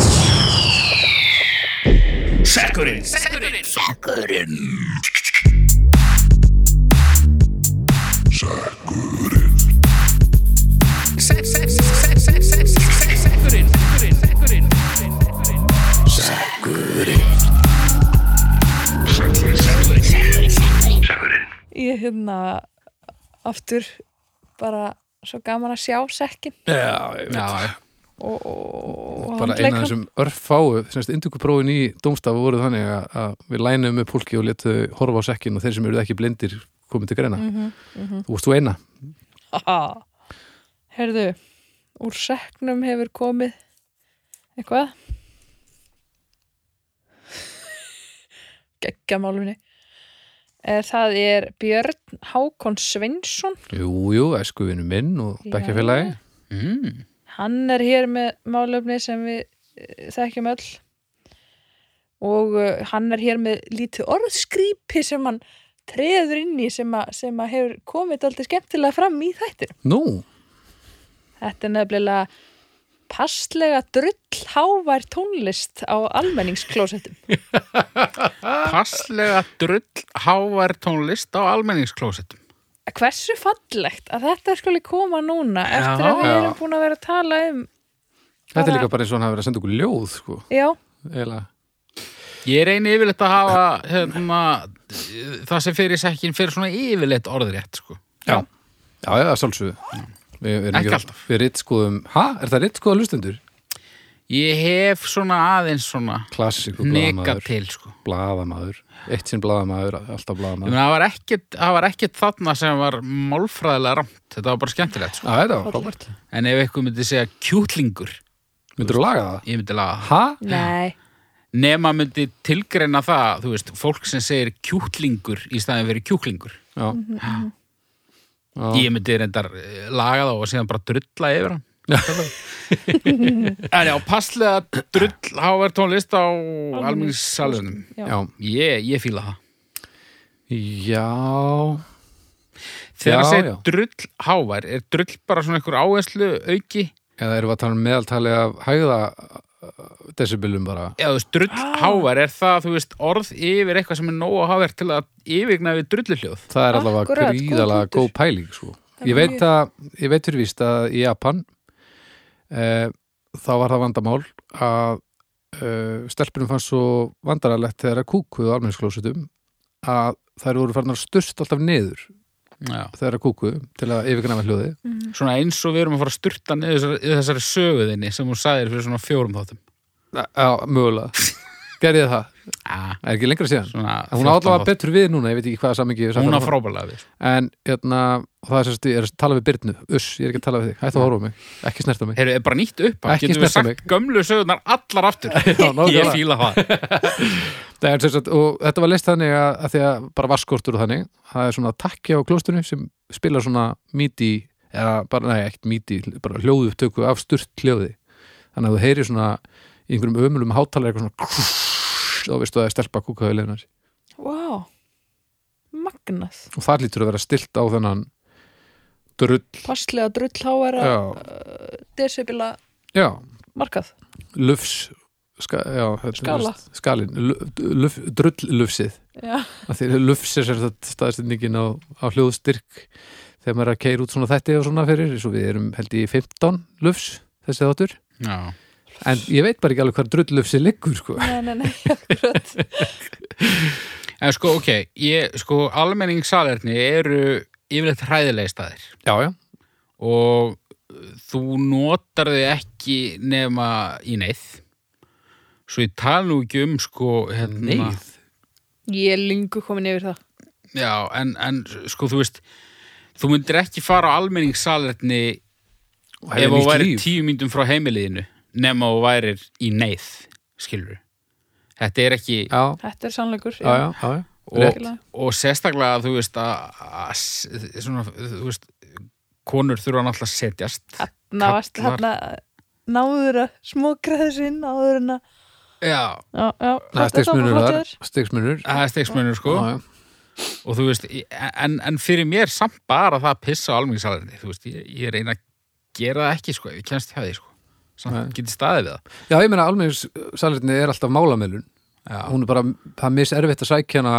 Ég hérna aftur bara svo gaman að sjá sekkin
já, ég
Já, já.
og, og, og
bara eina af þessum örfáu semst induguprófin í dómstafu voru þannig að, að við lænum upp fólki og letu horfa á sekkin og þeir sem eru ekki blindir komið til greina þú varst þú eina
þessum Herðu, úr seknum hefur komið eitthvað geggja málumni Eh, Það er Björn Hákon Sveinsson
jú, jú, æskuvinu minn og
Já.
bekkjafélagi
Mm.
Hann er hér með málefni sem við eh, þekkjum öll og uh, hann er hér með lítið orðskrýpi sem hann treður inn í sem að, sem að hefur komið alltaf skemmtilega fram í þættir.
nú,
Þetta er nefnilega passlega drullhávær tónlist á almenningsklósettum.
Passlega drull hávar tónlist á almenningsklósettum.
Hversu fallegt að þetta skuli koma núna eftir
Já,
að við
já.
erum búin að vera að tala um,
þetta er
Bara-
líka bara eins og hann hafi verið að senda okkur ljóð sko,
já,
eiginlega
Ég reyni yfirleitt að hafa hérna, það sem fyrir sekkin fyrir svona yfirleitt orðrétt, sko.
já, já, já, sjálfsögðu við, við, erum
Ekki
ekki-
alltaf.
við rittskoðum, ha, er það rittskoða lustendur?
Ég hef svona aðeins svona
klassiku
neka
blaðamaður
til, sko.
blaðamaður, eitt sinn blaðamaður alltaf
Ég
blaðamaður
meina, það var ekkit, það var ekkit þarna sem var málfræðilega ramt. Þetta var bara skemmtilegt, sko.
Já, þetta var
Fallegt.
frábært.
En ef eitthvað myndi segja kjútlingur,
Myndirðu laga það?
ég myndi laga það.
Ha?
Nei,
Nema myndi tilgreina það, þú veist, fólk sem segir kjútlingur í staðin verið kjúklingur.
Já. Já.
Ég myndi reyndar eh, laga þá og síðan bara drulla yfir hann. en já, passlega drull háver tónlist á almenningssalunum.
já.
Já.
Ég, ég fíla það.
Já.
Þegar
Já,
það segir
já.
drull hávær, er drull bara svona einhver áherslu auki?
Eða erum við að tala um meðaltali af hæða uh, decibilum bara?
Eða þú veist, drull
Ah.
hávær, er það, þú veist, orð yfir eitthvað sem er nógu hávær til að yfirgna við drulluhljóð?
Það er allavega
Akkurat, góð
gríðalega
punktur.
góð pæling sko.
Það er
Ég veit
mjög-
að, ég veit fyrir víst að í Japan e, þá var það vandamál að e, stelpunum fannst svo vandaralegt þegar að kúkuðu á almennsklósutum að þær voru farnar styrst alltaf niður
Já.
þegar að kúkuðu til að yfirgana með hljóði.
Svona eins og við erum að fara að sturta niður þessari, þessari söguðinni sem hún sagðir fyrir svona fjórum þáttum.
Mm.
Já, mögulega. Gerði ég það?
Ah,
Er ekki lengra síðan?
svona
Hún á
14
allavega
þáttum.
betur við núna, ég veit ekki hvaða samingi
Hún á frábælega við.
um.
sko.
en hérna, það er sérst, ég er að tala við Byrnu uss, ég er ekki að tala við þig, hættu að horfa á mig ekki snerta mig
Heyrðu, er bara nýtt upp
Ekki
Getum
snerta
við sagt
mig.
gömlu sögurnar allar aftur
Já, nákvæmlega.
Ég fíla það
Nei, en sem sagt, og þetta var leist þannig að, að því að bara vaskortur og þannig það er svona takki á klóstunni sem spilar svona midi eða bara, nei, ekkert midi, bara hljóðu upptöku af sturt hljóði þannig að þú heyrir svona í einhverjum ömulum hátalega eitthvað svona krúss, þá veistu að það er stelpa kúkaði leinar
Vá, magnað
og það lítur að vera stilt á þennan drull,
Passlega drullháara,
já,
desibila
já
markað
lufs ska, já, þetta er
Skala.
víst- skalinn, lu- luf, drulllufsið
Já,
Af því að lufs er sér þetta staðstendingin á, á hljóðstyrk þegar maður er að keira út svona þetta og svona fyrir svo við erum held í 15 lufs þessi þáttur,
Já.
en ég veit bara ekki alveg hvað drulllufsið liggur sko
nei, nei, nei, akkurat
En sko, ok, ég, sko, almenningssalerni eru yfirleitt hræðilegi staðir
já, já,
og uh, þú notar þau ekki nema í neyð Svo ég tala nú ekki um sko hérna,
neyð
Ég er lengu komin yfir það
Já, en, en sko, þú veist þú myndir ekki fara á almenningssalerni
og
ef
hefði
þú
nýtt
væri
líf
tíu myndum frá heimiliðinu nema þú værir í neyð skilur þetta er ekki
já,
Þetta er sannleikur
já, já, já, já.
og,
Rétt.
og sérstaklega þú veist að, að s- svona, þú veist, konur þurfa náttúrulega að setjast
Ná, varst
Kallar.
hérna náður að smokra þessu inn áður en að
já,
Já, já,
það er
þetta var
stigsmunur
flott hjá
þar
þér.
stigsmunur
það er stegsmönur sko og þú veist, í- en, en fyrir mér samt bara það að pissa á almenningssalerni þú veist, ég, ég reyna að gera það ekki sko, ef ég kennst hjá því sko
Nei.
samt getið staðið við það
já, ég meina almenningssalerni er alltaf málamelun
já,
hún er bara, það er miservitt að sækja hana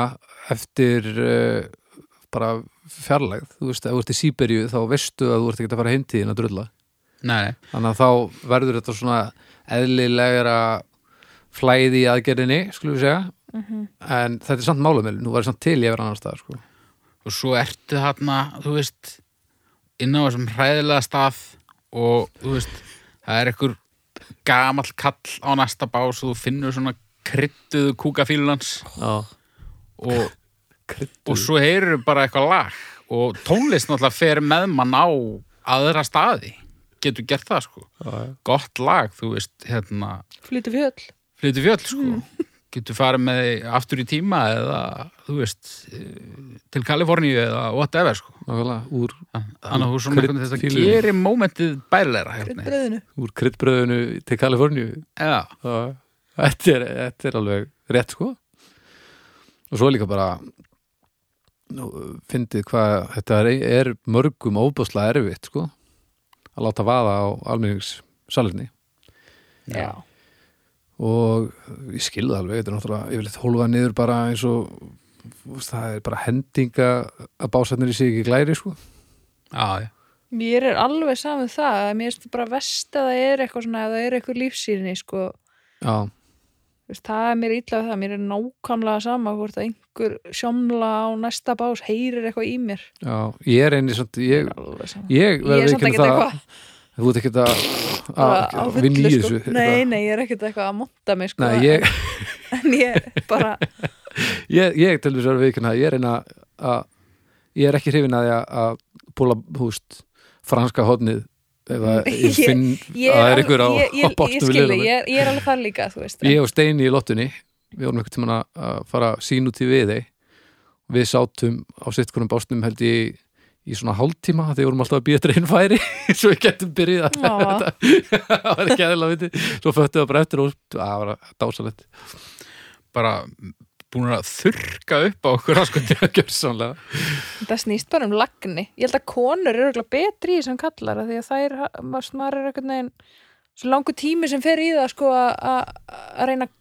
eftir uh, bara fjarlægð þú veist, ef þú ert í Sýberíu þá veistu að þú ert ekki að fara heimtíðin að drulla
nei, nei.
þannig að þá verður þetta svona eðlilegra flæði í aðgerðinni, skulum við segja en þetta er samt málamölu, nú var samt til ég verið annar stað, sko
og svo ertu þarna, þú veist inn á þessum hræðilega stað og þú veist það er einhver gamall kall á næsta bás og þú finnur svona kryttuðu kúkafílunans
Já,
og, og svo heyrur bara eitthvað lag og tónlist náttúrulega fer með mann á aðra staði getur gert það sko
já.
gott lag, þú veist, hérna
Flytur fjöll
flytu fjöll sko getur farið með þig aftur í tíma eða, þú veist eh, til Kaliforníu eða whatever sko
nákvæmlega, úr,
Þannig að þú svona
Krydd-
einhvern veginn þetta
fílur.
gerir mómentið bærilegra hérna.
Bröðinu
úr kryddbröðinu til Kaliforníu
Já,
Já, þetta er, þetta er alveg rétt sko og svo er líka bara nú, fyndið hvað þetta er, er mörgum óbúslega erfitt sko að láta vaða á almenningssalinni
já.
og ég skilði alveg, þetta er náttúrulega yfirleitt hólfa niður bara eins og þú veist, það er bara hendinga að básarnir í sig ekki glæri sko
já, já.
Mér er alveg saman það að mér finnst bara vest að það er eitthvað svona að það er eitthvað lífsýrni sko.
Já,
Þú veist, það er mér illa við það, mér er nákvæmlega sama hvort að einhver sjómla á næsta bás heyrir eitthvað í mér
já, ég er einnig samt, ég,
Alveg sama.
ég
Ég er
verður
samt
ekki
ekki
það
eitthvað
þú ert ekki að
bara á
að
fullu,
vinna í
sko.
þessu
Nei, nei, ég er ekkert eitthvað að monta mig sko,
Nei, ég,
en ég bara
ég, ég til þess að viðkynna ég er eina að ég er ekki hrifin að því að- að búla húst franska hodnið ef að ég
Ég-
finn
ég,
að það er
alveg-
ykkur á
ég, ég,
á
ég
bátnum við
skilði,
liðina.
ég, er- ég er alveg þar líka þú veist, en-
ég og Steini í lottunni við vorum einhvern tímann að- að fara sín út í viðey við sátum á sitt konum básnum held ég í svona hálftíma þegar við vorum alltaf að býja dreyn færi svo við getum byrjað um
Ó.
þetta það var ekki eðla viti svo föttu við bara eftir og það var dásalett
bara búin að þurrka upp á okkur sko.
gjörsamlega
það snýst bara um lagni ég held að konur eru örugglega betri í sem kallar af því að það er, maður er eitthvað neginn svo langur tími sem fer í það sko að- að að reyna að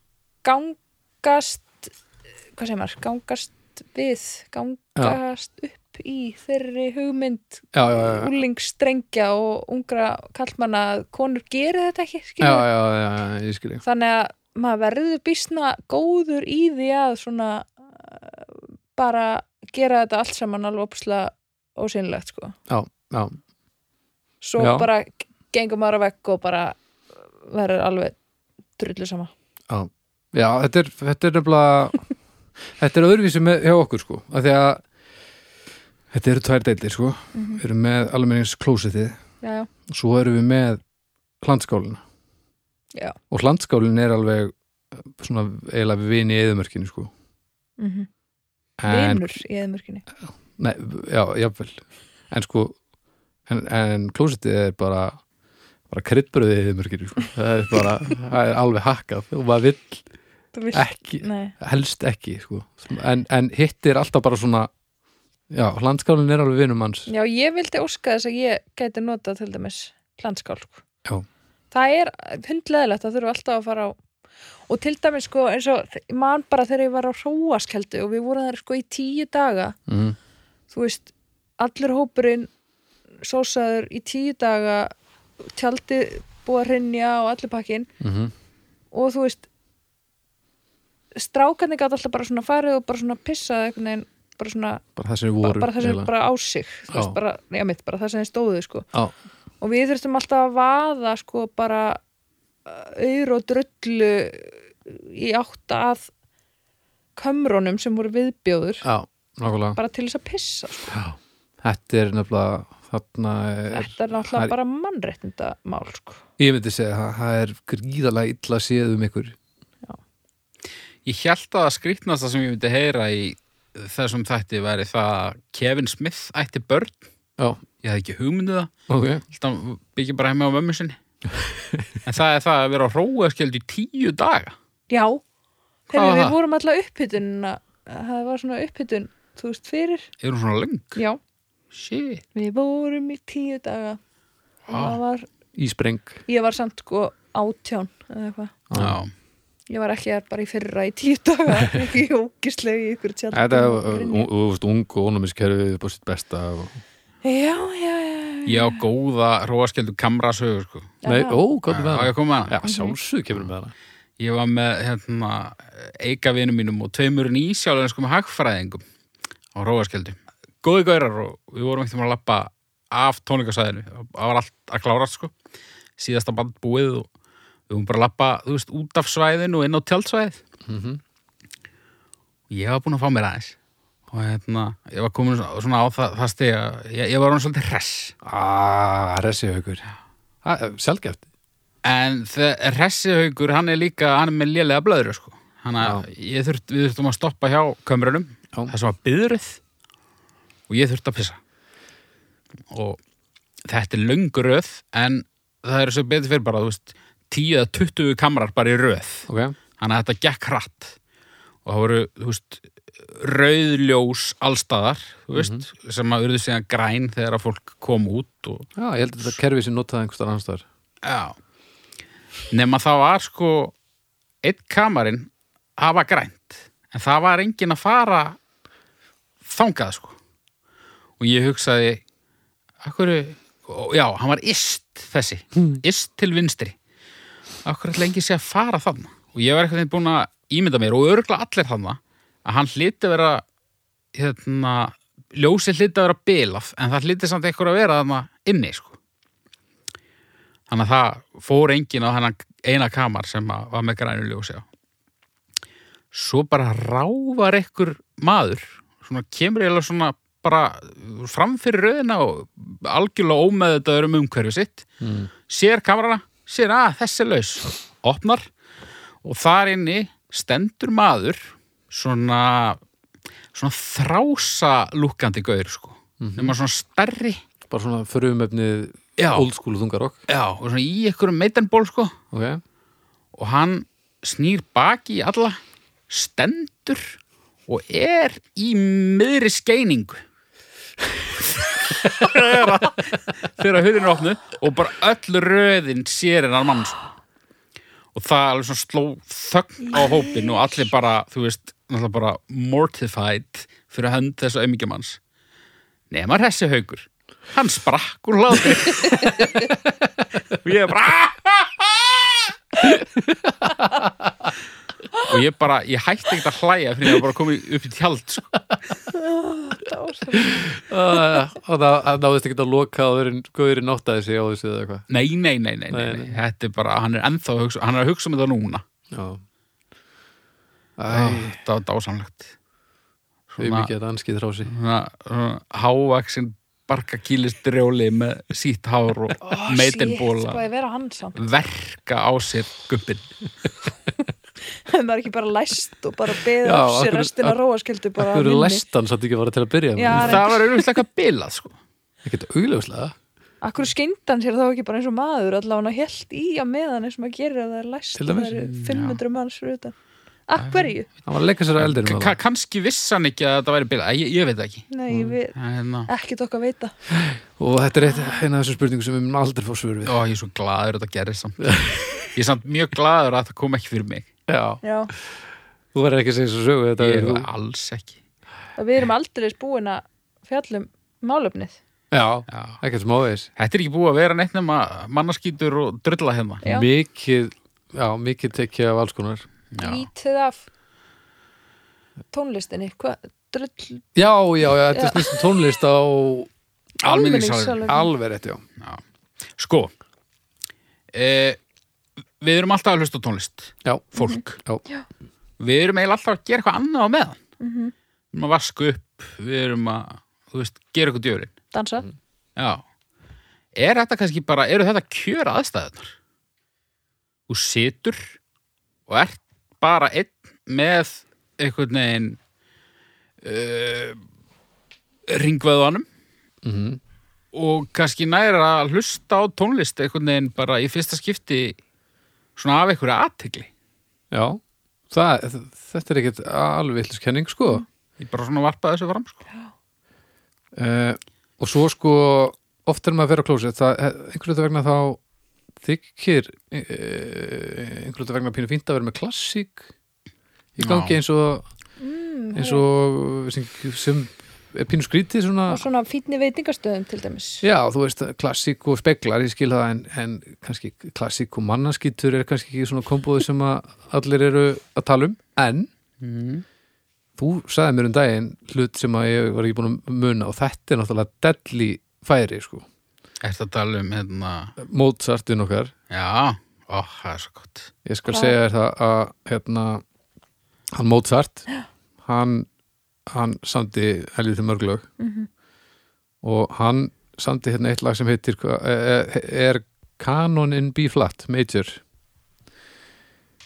gangast hvað segir maður, gangast við gangast upp í þeirri hugmynd
já, já, já, já,
úlingsstrengja og ungra kallmanna að konur gerir þetta ekki skilur
já,
við.
já, já, já ég skil ég
þannig að maður verður býsna góður í því að svona uh, bara gera þetta allt saman alveg opslega ósynlegt sko
já, já,
svo
Já.
bara gengum maður að vekk og bara eh, verður alveg drullu sama
já, þetta er þetta er nefnilega þetta er öðruvísi með, hjá okkur sko af því að þetta eru tvær deildir sko við erum með almennings klósitið
já, já,
svo erum við með hlandskálina
Já.
og hlandskálin er alveg eh, svona eiginlega vini í eðumörkinu sko
mm -hmm.
en,
vinur í eðmörkinni
nei, já, jafnvel en sko en, en klósitið er bara bara kryddbröðið í eðumörkinu sko. það er bara, það er alveg hakkað og maður vill
þú veist,
ekki
nei,
helst ekki sko. en, en hitt er alltaf bara svona já, hlandskálin er alveg vinum hans
já ég vildi óska þess að ég gæti notað til dæmis landskál sko.
Já.
það er hundleðilegt að þurfa alltaf að fara á og til dæmis sko eins og ég man bara þegar ég var á hróaskeldu og við vorum þar sko í tíu daga
mm.
þú veist, allur hópurinn sósaður í tíu daga tjaldið búið að hrynja og allir pakkin
Mm
og þú veist strákarnir gátt alltaf bara svona farið og bara svona pissað einhvern veginn bara svona,
bara það sem við
bara,
vorum
bara það sem
eiginlega.
bara á sig þú veist,
Já.
bara, já mitt, bara það sem þeir stóðu sko
Já,
og við þurftum alltaf að vaða sko bara uh, auður og drullu í átt að kömrónum sem voru viðbjóður
já, nákvæmlega
bara til þess að pissa sko.
Já, þetta er nefnilega þarna er,
þetta er
það
náttúrulega bara mannréttinda mál sko.
ég myndi segja það, það er gríðalega illa séð um ykkur
ég held að skrýtnasta sem ég myndi heyra í þessum þætti væri það að Kevin Smith ætti börn
Já,
ég hafði ekki hugmyndið það
ok,
Held að hann byggja bara heima á mömmu sinni en það er það að vera á hróaskjöld í tíu daga
já,
Hvað var
þegar við
það?
vorum alltaf upphytun það var svona upphytun þú veist fyrir,
eru hún svona löng
já
shit
við vorum í tíu daga og
Vá.
það var,
íspreng
ég var samt sko átján eða eitthvað
Já.
ég var ekki þar bara í fyrra í tíu daga ekki ógislega í ykkur tjald
Þetta uh, er ú- þú veist, ung og ónumiskerfið upp á sitt besta og...
já, já, já, já.
ég á góða hróaskjöldu kamrasögu sko.
Nei,
Jaha.
ó, hvað er með
á ég
hana?
að koma með
Já,
hana?
sjálfsög kemur með hana
ég var með hérna, eikavinum mínum og tveimurinn í sjálflenskum hagfræðingum á hróaskjöldu góði gaurar og við vorum ekkert að lappa af tónleikasæðinu það var allt að klára sko. síðasta band búið og við vorum bara að lappa þú veist, út af svæðinu og inn á tjaldsvæðið
mm
ég var búin að fá mér aðeins og hérna, ég var komin svona- svona á það, það stið að ég, ég var hann svolítið hress
Ah, resi haukur Ah, eh, Sjálfgeft
en þe- hressi haugur, hann er líka hann er með lélega blöðru sko hann að ég þurft, við þurftum að stoppa hjá kömrunum
Já.
það sem var byðrið og ég þurfti að pissa og þetta er löng röð en það eru svo betur fyrir bara, þú veist 10 eða 20 kamrar bara í röð
Ok,
þannig að þetta gekk hratt og það voru, þú veist rauðljós allstaðar þú veist, sem að urðu síðan græn þegar að fólk kom út og,
já, ég held að þetta kerfið sem notaði einhvers þar annars þar
já nema það var sko eitt kamarinn, það var grænt en það var engin að fara þangað sko og ég hugsaði akkur, já, hann var ist þessi, ist til vinstri akkur ætla engi sé að fara þarna og ég var eitthvað búin að ímynda mér og örgla allir þarna að hann hlýtti að vera hérna, ljósið hlýtti að vera bilað en það hlýtti samt einhver að vera þarna inni sko þannig að það fór enginn á hennan eina kamar sem að var með grænu ljósi á svo bara ráfar ekkur maður svona kemur eiginlega svona bara framfyrir röðina og algjörlega ómeðutaður um umhverfi sitt
Mm.
sér kamerana, sér að þessi er laus opnar og þar inni stendur maður svona svona þrása lúkandi gaur sko nema svona stærri
Bara svona frumefnið
Já.
old school þungarokk.
Já, og svona í einhverjum meitanból sko
Ok.
og hann snýr baki í alla stendur og er í miðri skeiningu þegar hurðin er opnu og bara öll röðin sér en hann mann sko. og það alveg svona sló þögn á hópin og allir bara, þú veist náttúrulega bara mortified fyrir hönd þessa auðmyggjumanns nema hressi haukur hann sprakk úr hlátur og ég bara og ég bara, ég hætti ekkert að hlæja fyrir ég var bara komið upp í tjald sko.
Uh, og það, það náðist ekki að loka áður en guðurinn áttaði sig á þessu eða eitthvað.
nei, nei, nei, nei, nei,
Nei,
nei, þetta er bara hann er ennþá, að hugsa, hann er að hugsa um þetta núna
Já. Ah,
Æ,
Æ,
þetta var dásamlegt
við
svona,
mikið að danski þrási.
svona, svona hávaksin barkakýlistrjóli með sítt hár og oh,
Shit,
meitinbóla
spáði vera hann samt
verka á sér guppin
maður er ekki bara læst og bara beðið
Já,
af
af
sér
hverju-
restina
af-
róaskildu bara
Akkur
af minni.
læst hann satt ekki bara til að byrja með.
Já,
Já.
hann er-
það var auðvitað eitthvað bilað sko.
Ekkert augljóslega.
Akkur skyndi hann sér þá ekki bara eins og maður allavega hann held í að meðan eins og maður gerir að það er læst
Til
og
dæmis.
það eru 500 manns fyrir utan Akverju?
Hann var að leika sér að eldinum.
Ka kannski vissi hann ekki að þetta væri bilað ég, ég veit það ekki
Nei,
mm.
við
Hérna.
ekkert okkar veita
Og þetta er eitt, eina af þessum spurningum sem við mun aldrei fá svör við.
Ó, ég er svo glaður að þetta gerist samt Ég er samt mjög glaður að það kom ekki fyrir mig
Já.
Já,
Þú verður ekki að segja þessu sögu, þetta
Ég
er
er
þú.
það alls ekki
og við erum aldrei búin að um fjallum málöfnið
Já,
Já.
ekkert smávegis.
Þetta er ekki búið að vera neitt nema mannaskýtur og drulla hérna
Já.
Mikið, já, mikið tekja af alls konar.
Já,
Lítið af tónlistinni Hvað, drull
Já, já, já, þetta er snýstum tónlist á
almenningssalur
alveg rétt, já.
Sko e, Við erum alltaf að hlusta á tónlist
Já,
Fólk
já,
Við erum eiginlega alltaf að gera eitthvað annað á meðan Við erum að vaska upp Við erum að, þú veist, gera eitthvað djörin
dansa
Já Er þetta kannski bara, eru þetta kjör aðstæðunar? Þú situr og ert bara einn með einhvern veginn uh, ringveðanum
mhm.
og kannski næra að hlusta á tónlist einhvern veginn bara í fyrsta skipti svona af einhverja aðtegli
já. Það, þetta er ekkert alveg vitlaus kenning, sko.
Ég bara svona varpaði þessu fram sko.
Uh, og svo sko oft er maður að vera á klósið það, eh, einhverju þetta vegna þá þykir uh, einhverju þetta vegna pínu fínt að vera með klassík í gangi
Já.
eins og eins og sem, sem er pínu skrítið svona
og svona fínni veitingastöðum til dæmis
já þú veist klassík og speglar ég skil það en, en kannski klassík og mannaskýtur er kannski ekki svona komboði sem að allir eru að tala um en
mm.
þú sagði mér um daginn hlut sem að ég var ekki búin að muna og þetta er náttúrulega delli færi sko
Ertu að tala um hérna
Mozartin okkar
Já, ó, það er svo gott
ég skal
Hvað?
segja þér það að hérna, hann Mozart hann, hann samdi helviti mörglög mm
Mhm.
og hann samdi hérna eitt lag sem heitir hva- eh, eh, er Canon in B-flat major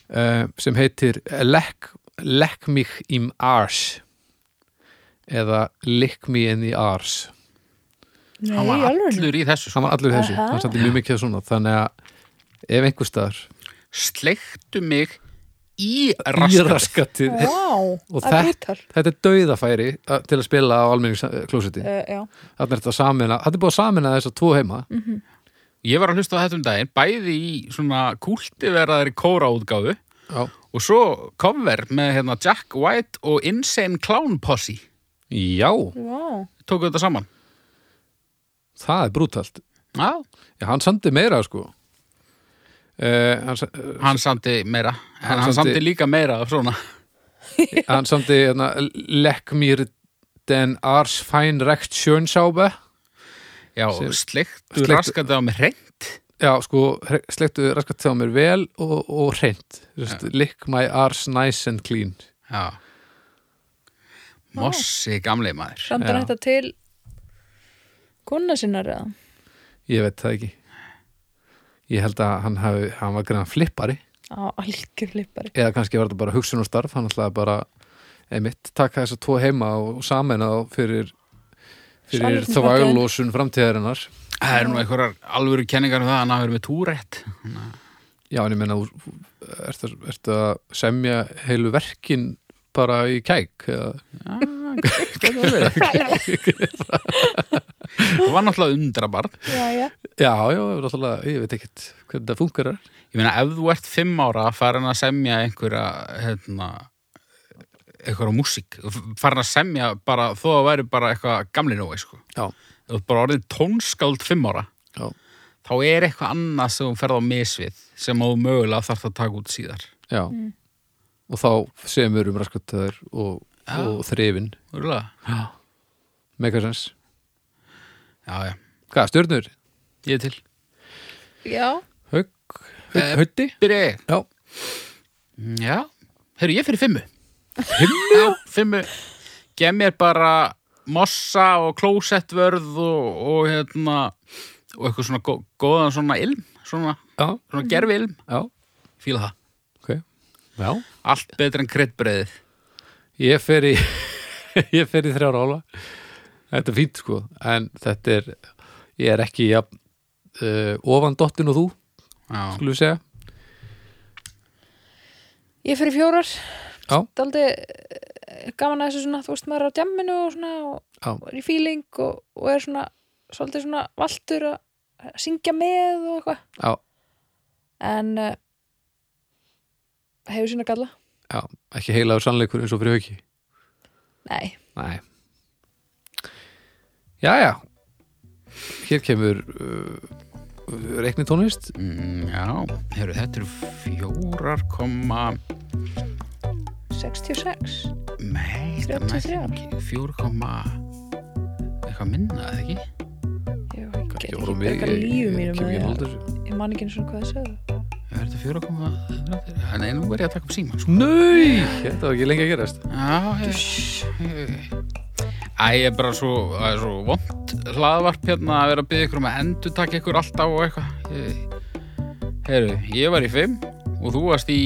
eh, sem heitir Leck, leck mich im Arsch eða Lick me in the Arsch
Nei,
Hann var allur í þessu sko.
hann var allur í þessu,
Aha.
hann samdi mjög mikið af svona þannig að ef einhver staðar
sleiktu mig í
í
raskat
raskatið
Vá,
Og
það
þetta-
er brútal
þetta er dauðafæri að- til að spila á almenningsklósiti uh,
uh, Já,
þarna er þetta samina, þetta er búið að samina þess að tvo heima
Mm.
ég var að hlusta á þetta um daginn bæði í svona kúltiveraðri kóraútgáfu
já,
og svo cover með hérna Jack White og Insane Clown Posse
já
vá
tóku þetta saman
það er brútalt
Já,
já, hann samdi meira sko uh, hann, sa- eh,
hann samti meira
Hann
en hann
samdi-
samti líka meira af svona
hann samdi hérna, lekk mér den ars fæn rekt sjönsábe
já,
Sem-
sleiktu
Sleiktu-
raskat á mig reynd
Já, já, sko, hre- sleiktu raskat hjá mér vel og, og reynd lick my arse nice and clean
Já. Mossi gamli maður.
Randar
Já.
þetta til kona sinnar eða?
ég veit það ekki ég held að hann, hafi, hann var greina flippari
Á, algjör flippari.
eða kannski var þetta bara hugsunarstörf hann ætlaði bara einmitt taka þess að tvo heima og samena þá fyrir fyrir
Sameignarflokkurinn.
þvægulósun framtíðarinnar
Það eru nú einhverjar alvöru kenningar um það að hann hafi verið með túrætt.
já en ég meina þú- ertu ertu að semja heilu verkin bara í kæk eða,
Það var náttúrulega undrabarn.
já, já.
já já, náttúrulega, ég veit ekkert hvernig það funkar
Ég meina, ef þú ert fimm ára farin að semja einhverja, hérna, einhverja músík, farin að semja bara, þó að væri bara eitthvað gamli nógu, sko.
já,
Þú ert bara orðin tónskáld fimm ára.
já,
Þá er eitthvað annað sem þú ferð á misvið sem þú mögulega þarf að taka út síðar.
já. og þá semur um raskatöður og, og þrifin
Úrlega?
megasens,
Já, já.
hvað, stjörnur?
Ég er til.
Já,
Hauk,
Eh,
hauk, hauti?
Byrja ég.
já,
Mm, Já, heyrðu ég fyrir fimmu Fimmu? Já, fimmu Gef mér bara mossa og klósettvörð og, og hérna og eitthvað svona gó, góðan svona ilm svona,
já,
svona gerfi ilm
já
fíla það,
ok, já
allt betra en kryddbreiðið
Ég fer í ég fer í þrjár ála Þetta er fínt sko en þetta er, ég er ekki ja, uh, ofan dottin og þú
Já,
skulum við segja
ég fyrir fjórar.
Já.
Daldi gaman að þessu svona, þú veist, maður er á djamminu og svona og,
Já.
og er í feeling og, og er svona, svolítið svona valtur að að syngja með og eitthvað.
Já,
En uh, hefur sína galla?
já, ekki heilaður sannleikur eins og fyrir hauki
Nei.
Nei Jæja Hér kemur uh, reiknitónlist
mm, já heyrðu þetta eru fjórar komma
66.
nei, þetta er
33.
ekki fjórar komma eitthvað minna, eða ekki?
Ég get
Ekki
ekki
orðum við,
bjargað
ég-
lífi
ég-
mínu
ég kem
með
ekki
því
náldur
að- Ég man ekki eins og hvað það segðu.
Er þetta fjórar komma nei, nú er ég að taka upp síma sko.
Nei, þetta var ekki lengi að gerast
Já, ég Æ, ég er bara svo, það er svo vond hlaðvarp hérna að vera að byggja ykkur um að endur taka ykkur alltaf og eitthvað. Ég- Heyrðu, ég var í fimm og þú varst í,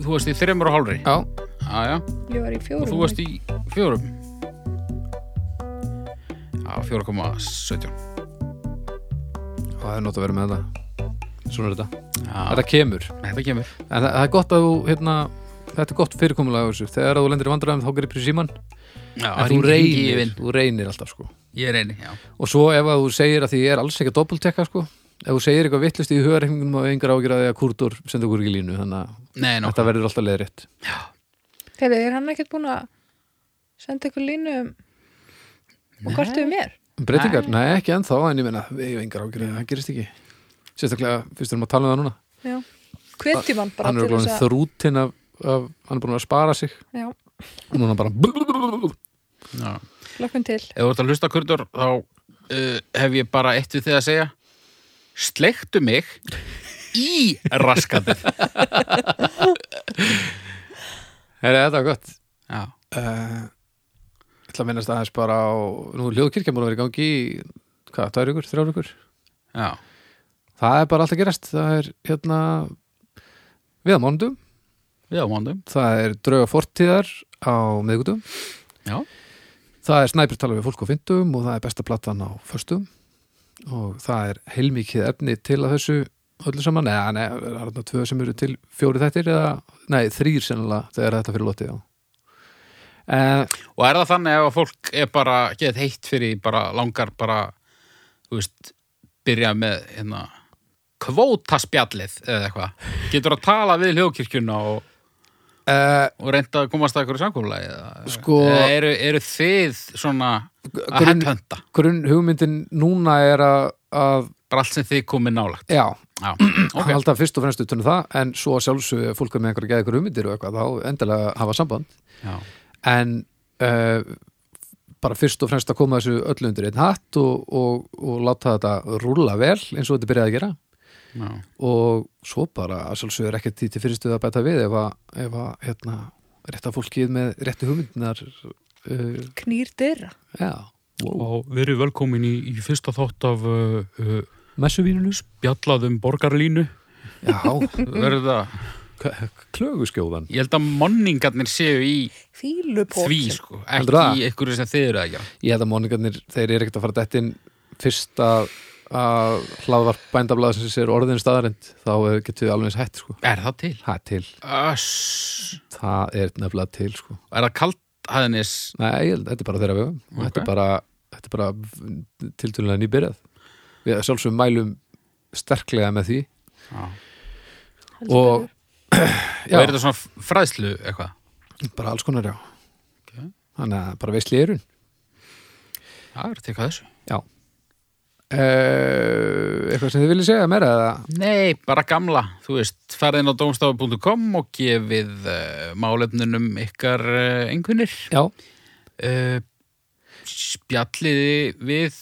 þú varst í þreymur og hálfri.
Já,
Já, já,
Ég var í fjórum.
og þú varst í fjórum. Já, 4,17.
það er nótt að vera með þetta Svona er þetta
Já,
Þetta kemur
þetta kemur.
En það, það er gott að þú, hérna, þetta er gott fyrirkomulega þessu. Þegar þú lendir í vandræðum þá gripir í síman.
Já,
En þú
hringi- hringi í
reynir,
vin.
þú reynir alltaf sko.
Ég reyni, já.
Og svo ef að þú segir að því ég er alls ekki að doppeltekka sko, ef þú segir eitthvað vittlust í hugarreikningum og engar ágjur að því að kurdur senda okkur ekki í línu, þannig að
Nei, nokkuð.
þetta verður alltaf leiðrétt.
Þegar er hann ekkert búin að senda ykkur línu um og hvort við mér?
Um Breytingar? Nei, ekki ennþá, en ég meina, við hefum engar ágjur að það gerist ekki. Sérstaklega, fyrst erum að tala um það núna.
Já. Hvetjum hann bara
Hann er
til
glóðin
þess að...
þrútin af, af, hann er búin að spara sig
Já,
og núna bara
Já.
lökum til.
Ef þú ert að hlusta kurdur þá uh, hef ég bara eitt við þig að segja Sleiktu mig í raskatið
Heri, þetta var gott.
Já,
Uh, ég ætla að minnast aðeins bara á, nú er hljóðkirkjan búin að vera í gangi í, hvað, tvær ykkur, þrjár ykkur
já,
það er bara alltaf gerast, það er hérna við á mánudum
við á mándum
það er drauga fortíðar á miðgutum
Já,
það er snæpir tala við fólk á fyndum og það er besta platan á föstum og það er heilmikið efni til að þessu öllu saman, neða, neða, það er þarna tvö sem eru til fjóri þættir eða, nei, þrýr sennilega, þegar þetta fyrir lotið á en
og er það þannig ef að fólk er bara geðið heitt fyrir bara langar bara, þú veist byrja með hérna kvótaspjallið eða eitthvað Getur að tala við hljóðkirkjuna og,
uh,
og reynda að komast að ykkur samkomulagi eða,
Sko-
eða eru, eru þið svona að
grunn-
hendhönda
grunn hugmyndin núna er að, að
bara allt sem þið komið nálægt
já,
Já,
okay.
ok,
alltaf fyrst og fremst utan um það en svo að sjálfsögðu ef fólk er með einhverja geða ykkur hugmyndir og eitthvað þá endilega hafa samband
já
en uh, eh, bara fyrst og fremst að koma þessu öllu undir einn hatt og, og, og láta þetta rúlla vel eins og þetta byrjaði að gera
já,
og svo bara að sjálfsögur er ekkert því til fyrirstuð að bæta við ef að, ef að hérna, rétta fólkið með réttu hugmyndinar uh,
knýr dyrra
já, wow.
og verið velkomin í, í fyrsta þátt af uh, uh,
messuvínunus
bjallaðum borgarlínu
já,
Mhm. verður það,
k- klöguskjóðan
ég held að manningarnir séu í
fílupók
því sko,
Heldurðu
ekki
það?
í einhverju sem þið eru að gera
ég held að móningarnir, þeir eru ekkert að fara dættin fyrst að að hlaðvarp bændablaðsins er orðin staðarind þá eh, getum við alveg eins hætt sko.
er það til?
það er til,
Öss,
það er nefnilega til sko.
er það kalt aðeins
Nei, ég held- þetta er bara þeirra vegum okay. þetta
Ok.
er bara, þetta er bara tiltölulega nýbyrjað við sjálfsögum mælum sterklega með því
Já.
sko. og
Já.
já,
Er þetta svona fræðslu eitthvað?
bara alls konar já
Ok.
þannig að bara veisli erun
Já, er þetta eitthvað þessu?
já uh, eitthvað sem þið viljið segja meira eða
Nei, bara gamla, þú veist, ferðin á domstafu.com og gefið uh, málefnunum ykkar uh, einhvernir.
já,
Uh, spjalliði við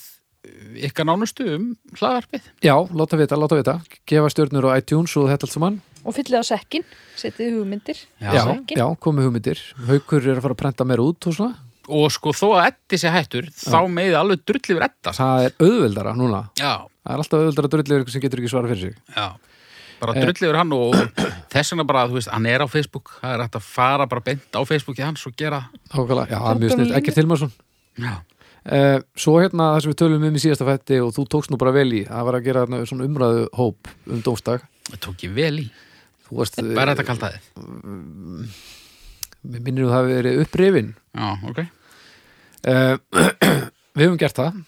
ykkar nánustu um hlaðarpið.
já, láta vita, láta vita gefa stjörnur á iTunes og þetta allt saman
og fyllið á sekkin, setið hugmyndir
já,
Ekki?
já komið hugmyndir haukur er að fara að prenta meira út og svona
Og sko, þó að Eddi sé hættur, þá meði alveg drullið verið Edda. sko.
það er auðveldara núna
Já,
það er alltaf auðveldara drullið sem getur ekki svara fyrir sig
já. Bara drullið verið hann og, og þess vegna bara, þú veist, hann er á Facebook, það er hægt að fara bara beint á Facebookið hans og gera.
Hákala, já, það er mjög
Þóttan
snill,
línu.
ekkert Hilmarsson
Já,
Eh, Svo hérna það sem við tölum um í síðasta fætti og þú tókst nú bara vel í að vera að gera þarna svona umræðu hóp um dómstag
það tók ég vel í.
Þú varst, eh,
Hvað er þetta kallt aðeins?
mér minnir þú það hafi verið upprifin
Já, ok.
uh, Við höfum gert það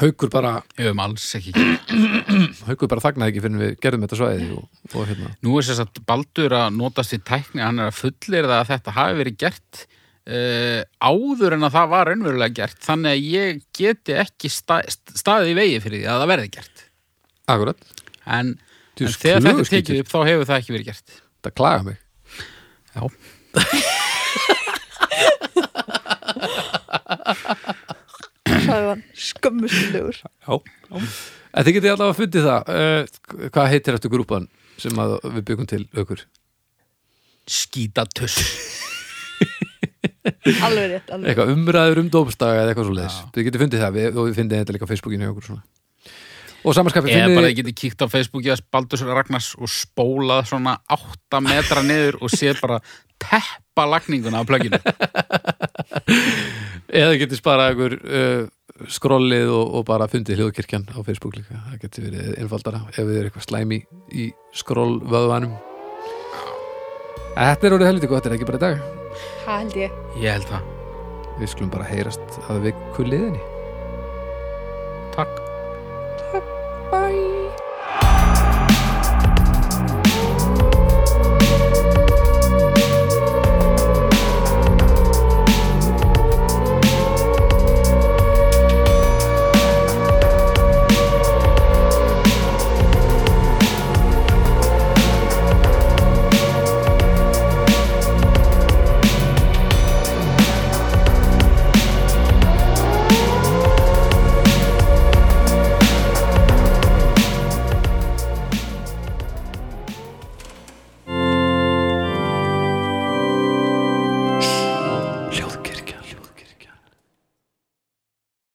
Haukur bara,
Við höfum alls ekki. gert.
haukur bara þagnaði ekki fyrir við gerðum þetta svæði og, og hérna
Nú er þess að Baldur að notast í tækni, hann er að fullir það að þetta hafi verið gert uh, áður en að það var raunverulega gert. Þannig að ég geti ekki sta, staðið í vegi fyrir því að það verði gert.
Akkurat,
En,
Þú
en þegar þetta er
sklöguskítur.
tekið upp þá hefur það ekki verið gert.
þetta klaga mig
Já.
sagðan skömmustilegur
Já, En þið getið allavega fundið það uh, Hvað heitir eftir grúpan sem að við byggum til haukur?
Skítatöss.
alveg rétt, alveg rétt.
Eitthvað umræður um dómstaga eða eitthvað svo leiðis Þið getið fundið það við, og við fundið þetta líka á Facebookinu hjá okkur svona Og samanskapið
Eða bara
finnið
þið getið kíkt á Facebookið að Baldur Ragnars og spólað svona 8 metra niður og séð bara teppa lagninguna á plögginu.
Eða getur sparað ykkur uh, skrollið og, og bara fundið hljóðkirkjan á Facebook líka. Það getur verið einfaldara ef við erum eitthvað slæmi í skrollvöðvanum. Þetta er orðið helviti gott, er það ekki bara í dag.
það held ég
Ég held það.
Við skulum bara heyrast að við kulliðinni.